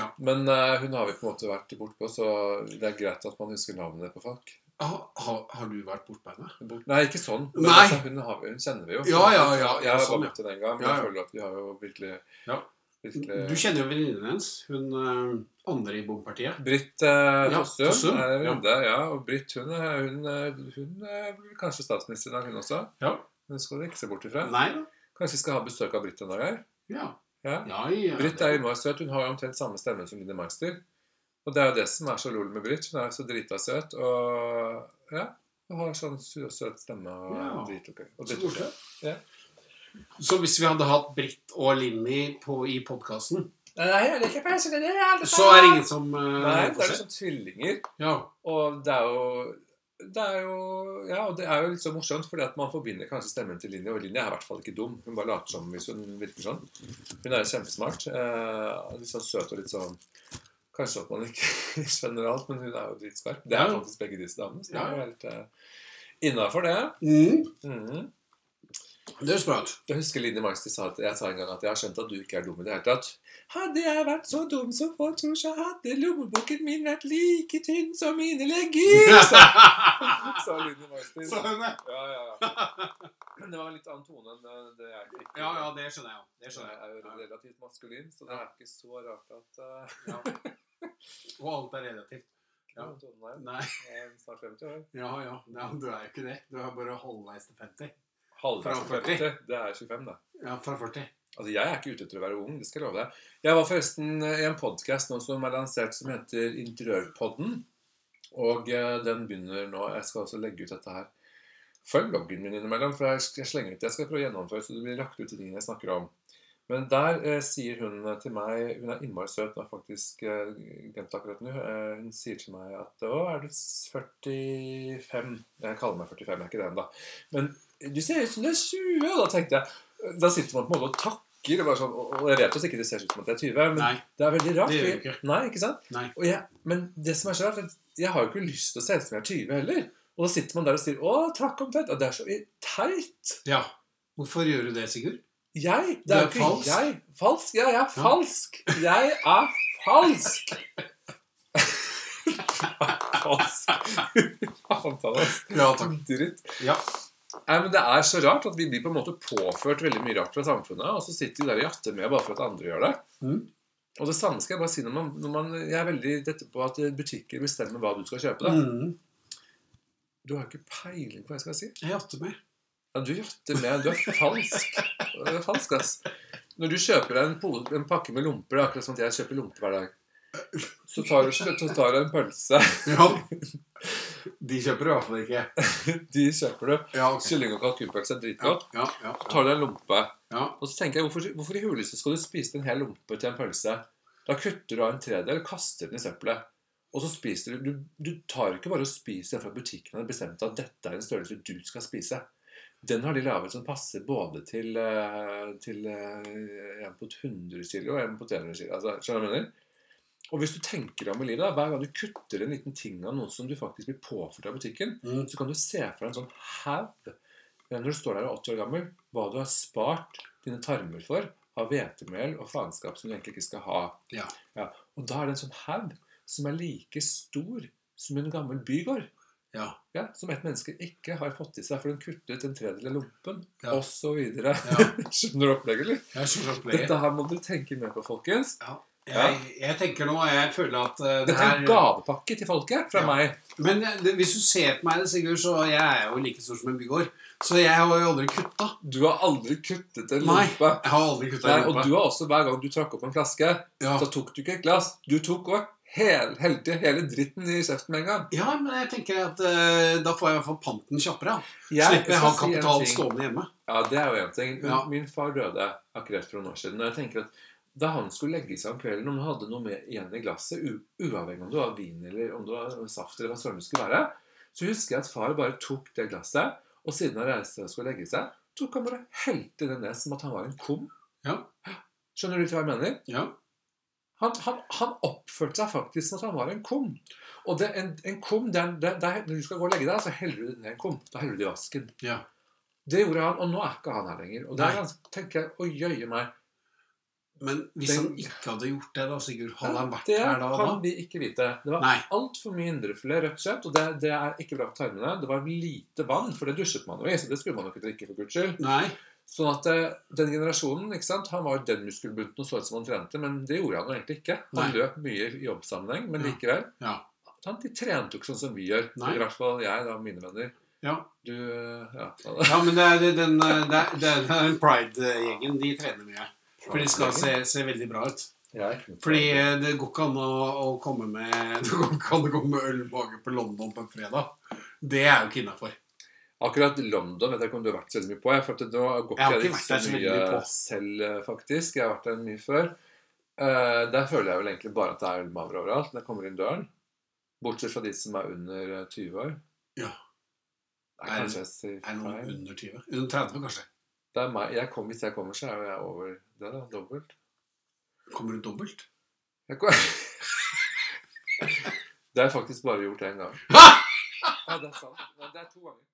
Speaker 1: Ja.
Speaker 2: Men eh, hun har vi på en måte vært bortpå, så det er greit at man husker navnet på folk.
Speaker 1: Har, har, Ah, har du vært bortpå henne?
Speaker 2: Bort- Nei, ikke sånn. Men
Speaker 1: Nei.
Speaker 2: altså, hun, har vi, hun kjenner vi jo.
Speaker 1: Ja, ja, ja,
Speaker 2: Jeg
Speaker 1: ja,
Speaker 2: har
Speaker 1: sånn,
Speaker 2: bare møtt henne en gang, men
Speaker 1: Ja,
Speaker 2: jeg
Speaker 1: ja.
Speaker 2: føler at vi har jo virkelig,
Speaker 1: Ja.
Speaker 2: virkelig
Speaker 1: Du kjenner jo venninnen hennes. Hun eh, andre i Bompartiet.
Speaker 2: Britt eh,
Speaker 1: Ja,
Speaker 2: Fossum
Speaker 1: Fossum,
Speaker 2: er en
Speaker 1: ja.
Speaker 2: runde. Ja. Og Britt hun, er- hun, er- hun er vel kanskje statsminister i dag, hun også.
Speaker 1: Ja.
Speaker 2: Hun skal du ikke se bort ifra.
Speaker 1: Nei da.
Speaker 2: Kanskje vi skal ha besøk av Britt en dag her.
Speaker 1: Ja.
Speaker 2: Ja.
Speaker 1: Ja, ja,
Speaker 2: Britt
Speaker 1: det-
Speaker 2: er innmari søt. Hun har jo omtrent samme stemme som Line Meister. Og det er jo det som er så lol med Britt. Hun er jo så drita søt og ja, hun har sånn sø- søt stemme og
Speaker 1: Ja.
Speaker 2: dritokøy. Og
Speaker 1: Så
Speaker 2: dritokøy.
Speaker 1: koselig.
Speaker 2: Ja.
Speaker 1: Så hvis vi hadde hatt Britt og Linni på, i podkasten,
Speaker 2: Nei, nei, jeg liker ikke det er alle
Speaker 1: så er det ingen som eh,
Speaker 2: Nei,
Speaker 1: får
Speaker 2: det er
Speaker 1: se.
Speaker 2: liksom tvillinger.
Speaker 1: Ja.
Speaker 2: Og det er jo det er jo ja, og det er jo litt så morsomt, fordi at man forbinder kanskje stemmen til Linje. Og Linje er i hvert fall ikke dum. Hun bare later som hvis hun virker sånn. Hun er jo kjempesmart. Eh, litt sånn søt og litt sånn Kanskje at man ikke skjønner alt, men hun er jo dritskarp. Det er
Speaker 1: Ja.
Speaker 2: faktisk begge disse damene. Så det
Speaker 1: Ja.
Speaker 2: er jo helt eh, innafor, det.
Speaker 1: Mm,
Speaker 2: Mhm.
Speaker 1: det høres bra ut.
Speaker 2: Jeg husker Linni Meister sa at jeg sa en gang at jeg har skjønt at du ikke er dum i det hele tatt. Hadde jeg vært så dum som folk tror, så hadde lommeboken min vært like tynn som mine legger. sa- Sa Linni Meister.
Speaker 1: Så hun er-
Speaker 2: Ja, ja, ja. Men det var en litt annen tone enn eh, det jeg fikk.
Speaker 1: ja, ja, det skjønner jeg. jo. Det skjønner
Speaker 2: Jeg er jo
Speaker 1: jeg. Ja.
Speaker 2: relativt maskulin, så det er ikke så rart at eh,
Speaker 1: Og alt er relativt. Ja.
Speaker 2: tonen er-
Speaker 1: Nei,
Speaker 2: jeg er snart 50 år.
Speaker 1: ja, ja. Nei, du er jo ikke det. Du er bare halvveis til 50.
Speaker 2: Halvveis
Speaker 1: Fra 40.
Speaker 2: 50. Det er 25, det.
Speaker 1: Ja, fra 40.
Speaker 2: Altså, Jeg er ikke ute etter å være ung, det skal jeg love deg. Jeg var forresten eh, i en podkast nå som er lansert som heter Interiørpodden. Og eh, den begynner nå. Jeg skal også legge ut dette her. Følg bloggen min innimellom, for jeg sk- jeg slenger ut. Jeg skal prøve å gjennomføre, så det blir lagt ut de tingene jeg snakker om. Men der eh, sier hun eh, til meg Hun er innmari søt, nå har jeg faktisk eh, glemt akkurat nå. Eh, hun sier til meg at Å, er du s- 45? Jeg kaller meg 45, jeg er ikke det ennå. Men du ser ut som du er 20! Og da tenkte jeg Da sitter man på en måte og takker. Og, bare sånn, og og jeg vet også ikke det ser ut som at jeg er 20, men
Speaker 1: Nei.
Speaker 2: det er veldig rart.
Speaker 1: Det gjør
Speaker 2: fordi-
Speaker 1: det ikke.
Speaker 2: Nei, ikke sant?
Speaker 1: Nei.
Speaker 2: Og jeg, men det som er så rart, er at jeg har jo ikke lyst til å se ut som jeg er 20 heller. Og da sitter man der og sier 'Å, takk omtrent'. Og det er så i- teit.
Speaker 1: Ja. Hvorfor gjør du det, Sigurd?
Speaker 2: Jeg?
Speaker 1: Du
Speaker 2: Det er
Speaker 1: er
Speaker 2: jo ikke
Speaker 1: falsk.
Speaker 2: jeg. Falsk? Ja, jeg er falsk. Jeg er falsk. falsk. Avtale.
Speaker 1: Ja, takk.
Speaker 2: Dritt.
Speaker 1: Ja.
Speaker 2: Nei, men Det er så rart at vi blir på en måte påført veldig mye rart fra samfunnet, og så sitter vi der og jatter med bare for at andre gjør det.
Speaker 1: Mhm.
Speaker 2: Og det samme skal jeg bare si når man, når man Jeg er veldig dette på at butikker bestemmer hva du skal kjøpe. da.
Speaker 1: Mm.
Speaker 2: Du har jo ikke peiling på hva jeg skal si.
Speaker 1: Jeg jatter meg.
Speaker 2: Ja, du jatter med. Du er falsk. Du er falsk, ass. Når du kjøper deg en, pose, en pakke med lomper, det er akkurat som at jeg kjøper lomper hver dag, så tar du, så tar du en pølse.
Speaker 1: Ja. De kjøper du i hvert fall ikke.
Speaker 2: De kjøper du.
Speaker 1: Ja, ok.
Speaker 2: Kylling- og kalkunpølse er
Speaker 1: Ja,
Speaker 2: dritgodt.
Speaker 1: ja, ja,
Speaker 2: Så
Speaker 1: ja.
Speaker 2: tar du deg en lompe.
Speaker 1: ja.
Speaker 2: Og så tenker jeg, hvorfor, hvorfor i huleste skal du spise en hel lompe til en pølse? Da kutter du av en tredjedel og kaster den i søppelet. Og så spiser du, du Du tar ikke bare og spiser den fra butikken og bestemte at dette er en størrelse du skal spise. Den har de laget som passer både til, eh, til eh, en på 100 kg og en på 300 kg. Altså, skjønner du hva jeg mener? Og hvis du tenker om i livet, da, hver gang du kutter en liten ting av noe som du faktisk blir påført av butikken,
Speaker 1: Mm.
Speaker 2: så kan du se for deg en sånn haug eh, når du står der og er 80 år gammel, hva du har spart dine tarmer for av hvetemel og faenskap som du egentlig ikke skal ha.
Speaker 1: Ja.
Speaker 2: Og da er det en sånn haug som er like stor som en gammel bygård.
Speaker 1: Ja.
Speaker 2: Ja, som et menneske ikke har fått i seg, for den kuttet en tredjedel av lompen,
Speaker 1: Ja.
Speaker 2: og så videre.
Speaker 1: Ja.
Speaker 2: Skjønner du opplegget, eller?
Speaker 1: Jeg skjønner opplegget.
Speaker 2: Dette her må dere tenke mer på, folkens.
Speaker 1: Jeg, jeg tenker nå, jeg føler at eh, det
Speaker 2: Dette er en
Speaker 1: her
Speaker 2: gavepakke til folket fra
Speaker 1: Ja.
Speaker 2: meg.
Speaker 1: Men eh, det, hvis du ser på meg, Sigurd, så jeg er jo like stor som en bygård. Så jeg har jo aldri kutta.
Speaker 2: Du har aldri kuttet en
Speaker 1: Nei.
Speaker 2: lompe.
Speaker 1: Jeg har aldri kutta
Speaker 2: Nei,
Speaker 1: i
Speaker 2: og
Speaker 1: rumpa.
Speaker 2: du har også, hver gang du trakk opp en flaske,
Speaker 1: Ja.
Speaker 2: så tok du ikke et glass. Du tok og hel, helte hele dritten i kjeften med en gang.
Speaker 1: ja, men jeg tenker at eh, da får jeg i hvert fall panten kjappere. da.
Speaker 2: Jeg
Speaker 1: Slipper jeg
Speaker 2: skal
Speaker 1: ha
Speaker 2: si en
Speaker 1: kapital
Speaker 2: ting.
Speaker 1: stående hjemme.
Speaker 2: Ja, det er jo en ting. Min,
Speaker 1: Ja.
Speaker 2: min far døde av kreft for noen år siden. Og jeg tenker at da han skulle legge seg om kvelden, om han hadde noe med igjen i glasset, u uavhengig om det var vin eller om det var saft eller hva søren det skulle være, så husker jeg at far bare tok det glasset, og siden han reiste seg og skulle legge seg, tok han bare og helte det ned som at han var en kom.
Speaker 1: Ja.
Speaker 2: Skjønner du litt hva jeg mener?
Speaker 1: Ja.
Speaker 2: Han, han, han oppførte seg faktisk som at han var en kom. Og det, en, en kom, det er, en- det, det er, Når du skal gå og legge deg, så heller du ned en kom. Da heller du det i vasken.
Speaker 1: Ja.
Speaker 2: Det gjorde han, og nå er ikke han her lenger. Og da
Speaker 1: Nei.
Speaker 2: tenker jeg å jøye meg.
Speaker 1: Men hvis
Speaker 2: Den-
Speaker 1: han ikke hadde gjort det, da, Sigurd, hadde han vært
Speaker 2: det
Speaker 1: her da? og
Speaker 2: kan
Speaker 1: da?
Speaker 2: vi ikke vite. Det var
Speaker 1: Nei.
Speaker 2: altfor mye indrefilet rødt kjøtt, og det, det er ikke bra for tarmene. Det var lite vann, for det dusjet man jo i, så det skulle man jo ikke drikke for guds skyld.
Speaker 1: Nei.
Speaker 2: Sånn at eh, den generasjonen, ikke sant, han var den muskelbunten og så ut som han trente, men det gjorde han jo egentlig ikke. Han
Speaker 1: Nei.
Speaker 2: løp mye i jobbsammenheng, men
Speaker 1: Ja.
Speaker 2: likevel.
Speaker 1: Ja.
Speaker 2: Han, de trente jo ikke sånn som vi gjør.
Speaker 1: Nei.
Speaker 2: I hvert fall jeg, da, mine venner.
Speaker 1: Ja.
Speaker 2: Du, eh, ja.
Speaker 1: ja, men det er det- den, eh, det er, det er den pride-gjengen. De trener mye. For de skal se, se veldig bra ut.
Speaker 2: Jeg er ikke noe
Speaker 1: Fordi
Speaker 2: fan.
Speaker 1: eh, det går ikke an å, å komme med Det går ikke an å komme med ølmage på London på en fredag. Det er jo ikke innafor.
Speaker 2: Akkurat London vet jeg ikke om du har vært så veldig mye på. Jeg, for at nå går
Speaker 1: Jeg har ikke
Speaker 2: ikke jeg
Speaker 1: vært
Speaker 2: så
Speaker 1: der så veldig
Speaker 2: mye
Speaker 1: mye på.
Speaker 2: selv, eh, faktisk. Jeg har vært der mye før. Eh, der føler jeg vel egentlig bare at det er ølmavere overalt når jeg kommer inn døren. Bortsett fra de som er under eh, 20 år.
Speaker 1: Ja.
Speaker 2: Nei, kanskje jeg sier
Speaker 1: Er det noen
Speaker 2: feil.
Speaker 1: under 20? Under 30, kanskje.
Speaker 2: Det er meg. Jeg kom, hvis jeg kommer, så er jo jeg over det, da. Dobbelt.
Speaker 1: Kommer du dobbelt?
Speaker 2: Jeg kom... det har jeg faktisk bare gjort én gang. Ja, det er sant. Men det er to ganger.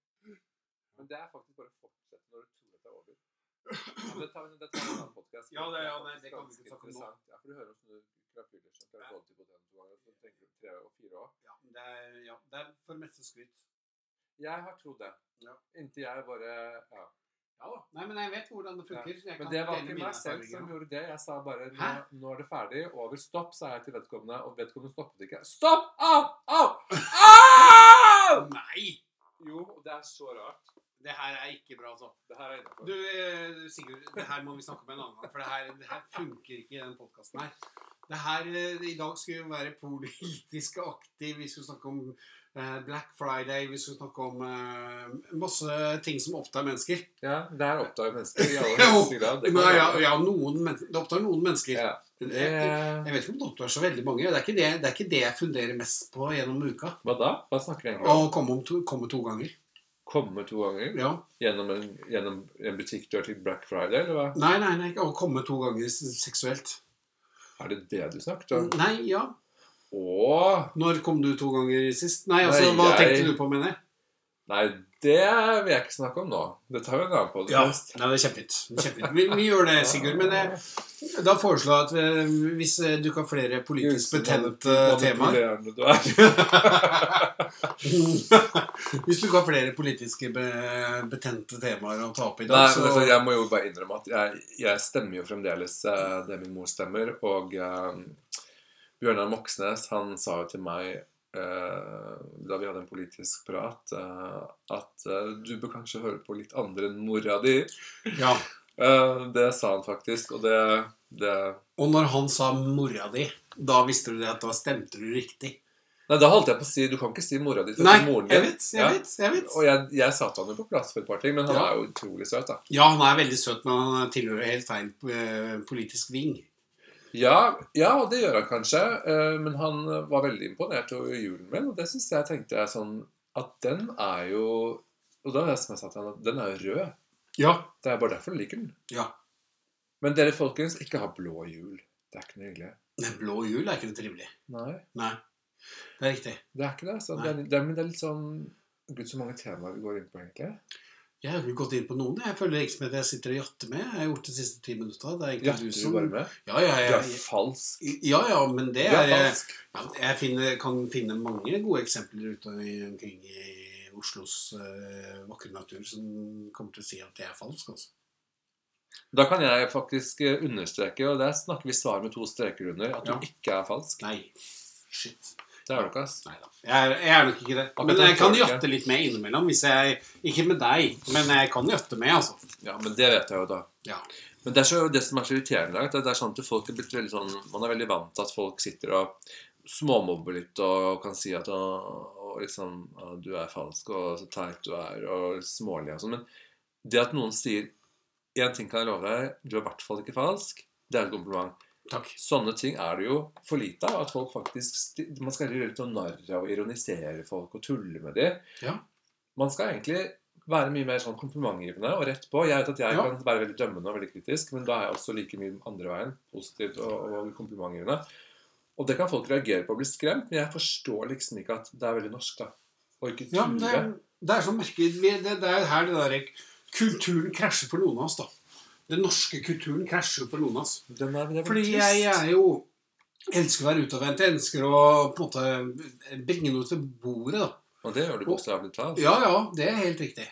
Speaker 2: Men det er faktisk bare å fortsette når du tror at det er over. Ja, men det tar, det tar en annen podcast.
Speaker 1: Ja, det- ja, nei, det kan vi
Speaker 2: faktisk
Speaker 1: ikke snakke om nå.
Speaker 2: interessant. Ja, for du hører hvordan du krapuler som klarer å holde til på den to ganger, så tenker du tre og fire år.
Speaker 1: Ja, det er, for meste skryt.
Speaker 2: Jeg har trodd det.
Speaker 1: Ja.
Speaker 2: Inntil jeg bare ja.
Speaker 1: Ja da. Nei, men jeg vet hvordan det funker. Jeg
Speaker 2: Men
Speaker 1: kan
Speaker 2: det var
Speaker 1: dele
Speaker 2: ikke
Speaker 1: mine
Speaker 2: meg selv
Speaker 1: erfaringer.
Speaker 2: som gjorde det. Jeg sa bare nå,
Speaker 1: Hæ?
Speaker 2: nå er det ferdig. Over stopp, sa jeg til vedkommende. Og vedkommende stoppet ikke. Stopp! Au! Au! Au!
Speaker 1: Nei!
Speaker 2: Jo, og det er så rart.
Speaker 1: Det her er ikke bra, altså.
Speaker 2: Det her er innafor.
Speaker 1: Du, eh, Sigurd, det her må vi snakke om en annen gang. For det her, det her funker ikke i den podkasten her. Det her, eh, I dag skulle vi være politisk aktiv, vi skulle snakke om eh, Black Friday, vi skulle snakke om eh, masse ting som opptar mennesker.
Speaker 2: Ja, det her oppdager mennesker i aller
Speaker 1: Jo,
Speaker 2: høyeste grad. Det
Speaker 1: Men,
Speaker 2: kan
Speaker 1: ja,
Speaker 2: være-
Speaker 1: ja, noen men det opptar noen mennesker.
Speaker 2: Ja.
Speaker 1: Jeg,
Speaker 2: Eh, Det-
Speaker 1: jeg vet ikke om det opptar så veldig mange. Det er ikke det, det, er ikke det jeg funderer mest på gjennom uka.
Speaker 2: Hva da? Hva snakker jeg egentlig
Speaker 1: Å
Speaker 2: om?
Speaker 1: komme, om to, komme to ganger.
Speaker 2: Komme to ganger?
Speaker 1: Ja.
Speaker 2: Gjennom en, gjennom en butikkdør til Black Friday, eller hva?
Speaker 1: Nei, nei, nei. ikke Å komme to ganger seksuelt.
Speaker 2: Er det det du snakket om?
Speaker 1: Nei, ja.
Speaker 2: Åh!
Speaker 1: Når kom du to ganger sist? Nei, altså,
Speaker 2: Nei,
Speaker 1: hva
Speaker 2: jeg-
Speaker 1: tenkte du på, mener jeg?
Speaker 2: Nei, det vil jeg ikke snakke om nå. Det tar vi en
Speaker 1: Ja,
Speaker 2: annen podkast.
Speaker 1: nei, det er kjempefint. Det er kjempefint. Vi, vi gjør det, Sigurd. Men jeg, da foreslår jeg at vi, hvis eh, du kan flere politisk betente temaer
Speaker 2: Du er.
Speaker 1: Hvis du kan flere politiske be, betente temaer å ta opp i
Speaker 2: Nei,
Speaker 1: dag,
Speaker 2: men
Speaker 1: så
Speaker 2: altså, jeg må jo bare innrømme at jeg, jeg stemmer jo fremdeles eh, det min mor stemmer. Og eh, Bjørnar Moxnes han sa jo til meg eh, da vi hadde en politisk prat, eh, at eh, du bør kanskje høre på litt andre enn mora di.
Speaker 1: ja.
Speaker 2: Eh, det sa han faktisk, og det, det
Speaker 1: Og når han sa 'mora di', da visste du det at da stemte du riktig.
Speaker 2: Nei, da holdt jeg på å si Du kan ikke si mora di til
Speaker 1: Nei,
Speaker 2: moren
Speaker 1: jeg
Speaker 2: din.
Speaker 1: vet,
Speaker 2: Ja.
Speaker 1: jeg vet, jeg vet.
Speaker 2: Og jeg, jeg satte han jo på plass for et par ting, men han
Speaker 1: Ja.
Speaker 2: er jo utrolig søt, da.
Speaker 1: Ja, han er veldig søt, men han tilhører helt feil eh, politisk ving.
Speaker 2: Ja, ja, og det gjør han kanskje, eh, men han var veldig imponert over julen min, og det syns jeg tenkte jeg sånn At den er jo Og da er det som jeg sa til han, at den er jo rød.
Speaker 1: Ja.
Speaker 2: Det er bare derfor du liker den.
Speaker 1: ja.
Speaker 2: Men dere folkens, ikke ha blå jul. Det er ikke noe hyggelig.
Speaker 1: Men blå jul er ikke noe trivelig.
Speaker 2: Nei,
Speaker 1: Nei. Det er riktig.
Speaker 2: det er ikke det. Så det, er, det, er, men det er litt sånn Gud, så mange temaer vi går inn på, egentlig.
Speaker 1: Jeg har jo gått inn på noen. Jeg føler ikke som at jeg sitter og jatter med. Jeg har gjort det siste ti minutta. Det er
Speaker 2: Hjerter
Speaker 1: egentlig du
Speaker 2: du
Speaker 1: som
Speaker 2: bare med?
Speaker 1: Ja, ja,
Speaker 2: Du
Speaker 1: ja,
Speaker 2: er falsk.
Speaker 1: ja, ja men det
Speaker 2: Du
Speaker 1: er eh,
Speaker 2: er
Speaker 1: ja,
Speaker 2: falsk.
Speaker 1: Jeg finner, kan finne mange gode eksempler ute i- omkring i Oslos eh, vakre natur som kommer til å si at det er falsk, altså.
Speaker 2: Da kan jeg faktisk eh, understreke, og der snakker vi svar med to streker under, at du
Speaker 1: Ja.
Speaker 2: ikke er falsk.
Speaker 1: Nei. Shit.
Speaker 2: Det er du ikke, ass.
Speaker 1: Nei da. Jeg, er- jeg er nok ikke det.
Speaker 2: Akkurat
Speaker 1: Men
Speaker 2: den
Speaker 1: jeg kan
Speaker 2: føler jeg
Speaker 1: jatte litt med innimellom. Hvis jeg, ikke med deg, men jeg kan jatte med, altså.
Speaker 2: Ja, men det vet jeg jo, da.
Speaker 1: Ja.
Speaker 2: Men det er så, det som er så irriterende, er at det er sånn at folk er blitt veldig sånn Man er veldig vant til at folk sitter og småmobber litt og kan si at å, å, liksom, å, du er falsk, og så teit du er, og smålig og sånn. Men det at noen sier én ting kan jeg love deg, du er i hvert fall ikke falsk, det er et kompliment.
Speaker 1: Takk.
Speaker 2: Sånne ting er det jo for lite av. At folk faktisk sti- Man skal heller gjøre litt sånn narr av og ironisere folk og tulle med dem.
Speaker 1: Ja.
Speaker 2: Man skal egentlig være mye mer sånn komplimentgivende og rett på. Jeg vet at jeg
Speaker 1: Ja.
Speaker 2: kan være veldig dømmende og veldig kritisk, men da er jeg også like mye andre veien. Positivt og, og komplimentgivende. Og det kan folk reagere på og bli skremt, men jeg forstår liksom ikke at det er veldig norsk, da. Og ikke
Speaker 1: Ja, men
Speaker 2: tulle.
Speaker 1: det, er- det er så merkelig Vi- det, det er her det der Kulturen krasjer for noen av oss, da. Den norske kulturen krasjer for noen av oss.
Speaker 2: Den er, den er veldig
Speaker 1: Fordi
Speaker 2: trist.
Speaker 1: jeg er jo Elsker å være utadvendt. Jeg elsker å på en måte bringe noe til bordet, da.
Speaker 2: Og det gjør du bokstavelig talt.
Speaker 1: Ja, ja, det er helt riktig.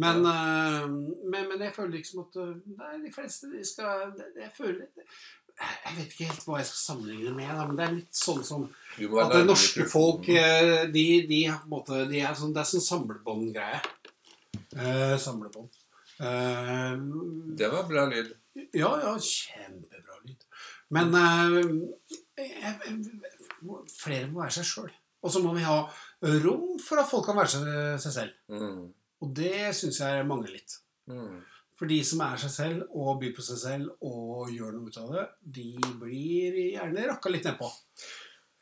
Speaker 1: Men, eh, men, men jeg føler liksom at eh, Nei, de fleste de skal Jeg føler Jeg vet ikke helt hva jeg skal sammenligne det med, da, men det er litt sånn som
Speaker 2: Du må være
Speaker 1: at det
Speaker 2: nærmere
Speaker 1: norske
Speaker 2: mikrofonen.
Speaker 1: folk eh, de, de, har på en måte, de er sånn, Det er sånn samlebåndgreie. Eh, samlebånd. Eh,
Speaker 2: Det var bra lyd.
Speaker 1: ja, ja, kjempebra lyd. Men eh, jeg- jeg- flere må være seg sjøl. Og så må vi ha rom for at folk kan være seg, seg selv.
Speaker 2: Mm.
Speaker 1: Og det syns jeg mangler litt.
Speaker 2: Mm.
Speaker 1: For de som er seg selv og byr på seg selv og gjør noe ut av det, de blir gjerne rakka litt nedpå.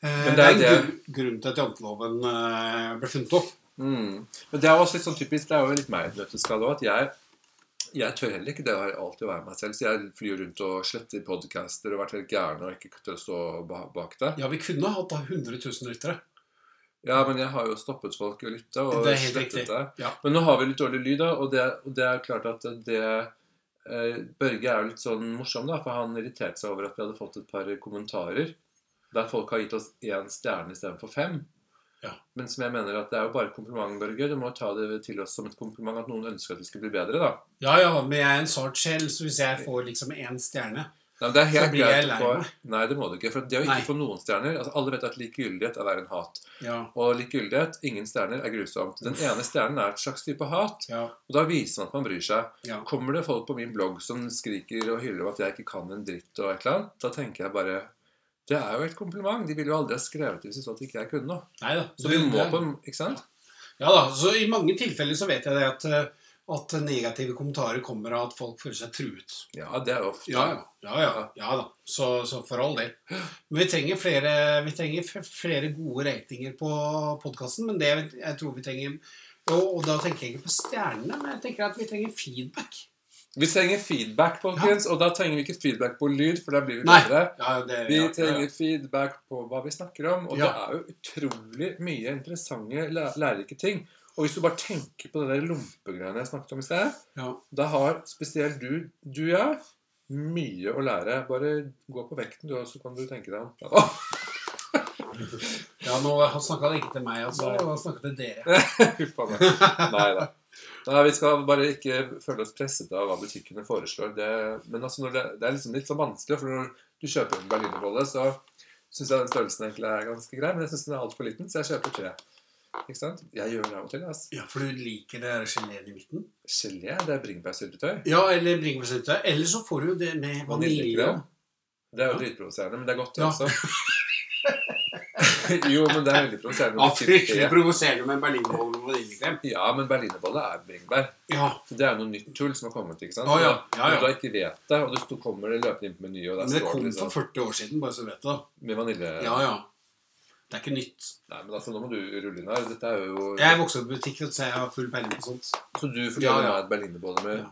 Speaker 1: Eh, det
Speaker 2: Men det
Speaker 1: er
Speaker 2: er
Speaker 1: en gru- grunn til at janteloven eh, ble funnet opp.
Speaker 2: Mm. Men det er jo også litt sånn typisk, det er jo litt meg i et nøtteskall også, at jeg, jeg tør heller ikke det å alltid være meg selv. Så jeg flyr rundt og sletter podcaster og vært helt gæren og ikke tør å stå ba- bak det.
Speaker 1: Ja, vi kunne hatt da 100 000 lyttere.
Speaker 2: Ja, men jeg har jo stoppet folk å lytte og
Speaker 1: Det er helt
Speaker 2: slettet
Speaker 1: riktig,
Speaker 2: det.
Speaker 1: ja.
Speaker 2: Men nå har vi litt dårlig lyd, da, og det, og det er klart at det eh, Børge er jo litt sånn morsom, da, for han irriterte seg over at vi hadde fått et par kommentarer der folk har gitt oss én stjerne istedenfor fem.
Speaker 1: Ja.
Speaker 2: Men som jeg mener at det er jo bare kompliment, Børge. Du må ta det til oss som et kompliment at noen ønsker at vi skal bli bedre, da.
Speaker 1: Ja ja, men jeg er en sart sjel, så hvis jeg får liksom én stjerne
Speaker 2: Nei, men det er
Speaker 1: Så
Speaker 2: helt
Speaker 1: blir jeg
Speaker 2: greit å
Speaker 1: lei
Speaker 2: få
Speaker 1: meg.
Speaker 2: Nei, det må du ikke. For det å ikke
Speaker 1: Nei.
Speaker 2: få noen stjerner altså Alle vet at likegyldighet er verre enn hat.
Speaker 1: Ja.
Speaker 2: Og likegyldighet, ingen stjerner, er grusomt. Den ene stjernen er et slags type hat,
Speaker 1: ja,
Speaker 2: og da viser man at man bryr seg.
Speaker 1: ja.
Speaker 2: Kommer det folk på min blogg som skriker og hyller om at jeg ikke kan en dritt og et eller annet, da tenker jeg bare Det er jo et kompliment. De ville jo aldri ha skrevet det hvis de så at ikke jeg kunne noe.
Speaker 1: Nei da.
Speaker 2: Så vi må på en- Ikke sant?
Speaker 1: Ja da, så i mange tilfeller så vet jeg det at, eh, at negative kommentarer kommer av at folk føler seg truet.
Speaker 2: Ja, det er jo ofte
Speaker 1: Ja, ja. ja, ja, ja da. Så, så for all del. Men vi trenger flere, vi trenger f- flere gode ratinger på podkasten. Men det jeg tror vi trenger og, og da tenker jeg ikke på stjernene, men jeg tenker at vi trenger feedback.
Speaker 2: Vi trenger feedback, folkens. Og da trenger vi ikke feedback på lyd, for da blir vi
Speaker 1: Nei.
Speaker 2: bedre.
Speaker 1: Ja, det,
Speaker 2: Vi
Speaker 1: ja,
Speaker 2: trenger
Speaker 1: ja,
Speaker 2: feedback på hva vi snakker om, og
Speaker 1: Ja.
Speaker 2: det er jo utrolig mye interessante, læ- lærerike ting. Og hvis du bare tenker på det der lompegreiene jeg snakket om i sted,
Speaker 1: Ja.
Speaker 2: da har spesielt du, du ja, mye å lære. Bare gå på vekten, du, og så kan du tenke deg om. Åh,
Speaker 1: ja, nå snakka han ikke til meg, altså.
Speaker 2: Nei.
Speaker 1: Han snakka til dere.
Speaker 2: huff a meg. Nei da. Nei, Vi skal bare ikke føle oss presset av hva butikkene foreslår. Det, men altså når det, det er liksom litt så vanskelig, for når du kjøper en berlinerbolle, så syns jeg den størrelsen egentlig er ganske grei, men jeg syns den er altfor liten, så jeg kjøper tre. Ikke sant? Jeg gjør det av og til. ass.
Speaker 1: Ja, for du liker det der geleen i midten?
Speaker 2: Gelé, det er bringebærsyltetøy.
Speaker 1: Ja, eller bringebærsyltetøy. Eller så får du det med vanilje.
Speaker 2: Vaniljekrem. Det er jo
Speaker 1: Ja.
Speaker 2: dritprovoserende, men det er godt, det
Speaker 1: Ja.
Speaker 2: også. jo, men det er veldig
Speaker 1: Ja,
Speaker 2: provoserende. når du ikke
Speaker 1: fryktelig
Speaker 2: liker det.
Speaker 1: provoserende med berlinerbolle med vaniljekrem.
Speaker 2: Ja, men berlinerbolle er bringebær.
Speaker 1: Ja.
Speaker 2: Så Det er noe nytt tull som har kommet. ikke sant?
Speaker 1: Å, ja. Ja, ja.
Speaker 2: Når du da ikke vet det, og du sto- kommer løpende inn på Meny, og der
Speaker 1: Men det
Speaker 2: står
Speaker 1: kom
Speaker 2: det
Speaker 1: for
Speaker 2: liksom
Speaker 1: 40 år siden, bare så du vet det.
Speaker 2: med vanilje
Speaker 1: Ja, ja. Det er ikke nytt.
Speaker 2: Nei, men altså, nå må du rulle inn her. Dette er jo
Speaker 1: Jeg vokste opp i butikken, så jeg har full peiling på sånt.
Speaker 2: Så du forteller
Speaker 1: Ja, ja.
Speaker 2: meg at berlinerbolle med
Speaker 1: Ja.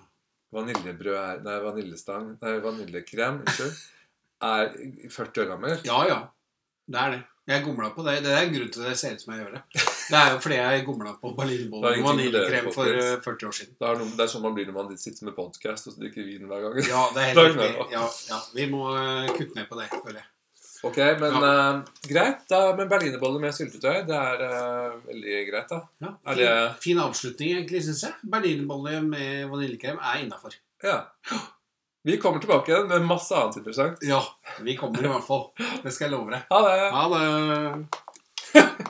Speaker 2: vaniljebrød er Nei, vaniljestang Nei, vaniljekrem, unnskyld, er 40 år gammel?
Speaker 1: Ja, ja. Det er det. Jeg gomla på det. Det er grunnen til at det ser ut som jeg gjør det. Det er jo fordi jeg gomla på
Speaker 2: Det
Speaker 1: berlinerboller
Speaker 2: er
Speaker 1: og
Speaker 2: ingenting med det,
Speaker 1: vaniljekrem for
Speaker 2: folkens.
Speaker 1: eh, 40 år siden.
Speaker 2: Det er, noe, det er sånn man blir når man sitter med podkast og så drikker vin hver gang.
Speaker 1: Ja, det er helt
Speaker 2: Takk,
Speaker 1: riktig.
Speaker 2: Nero.
Speaker 1: Ja, ja. Vi må eh, kutte ned på det, føler jeg.
Speaker 2: Ok, men eh, greit. Da, men berlinerbolle med syltetøy, det er eh, veldig greit, da.
Speaker 1: Ja,
Speaker 2: Er
Speaker 1: fin,
Speaker 2: det-
Speaker 1: fin avslutning, egentlig, syns jeg. Berlinerbolle med vaniljekrem er innafor.
Speaker 2: Ja. Vi kommer tilbake igjen med masse annet interessant.
Speaker 1: Ja. Vi kommer i hvert fall. Det skal jeg love deg.
Speaker 2: Ha det!
Speaker 1: Ha det.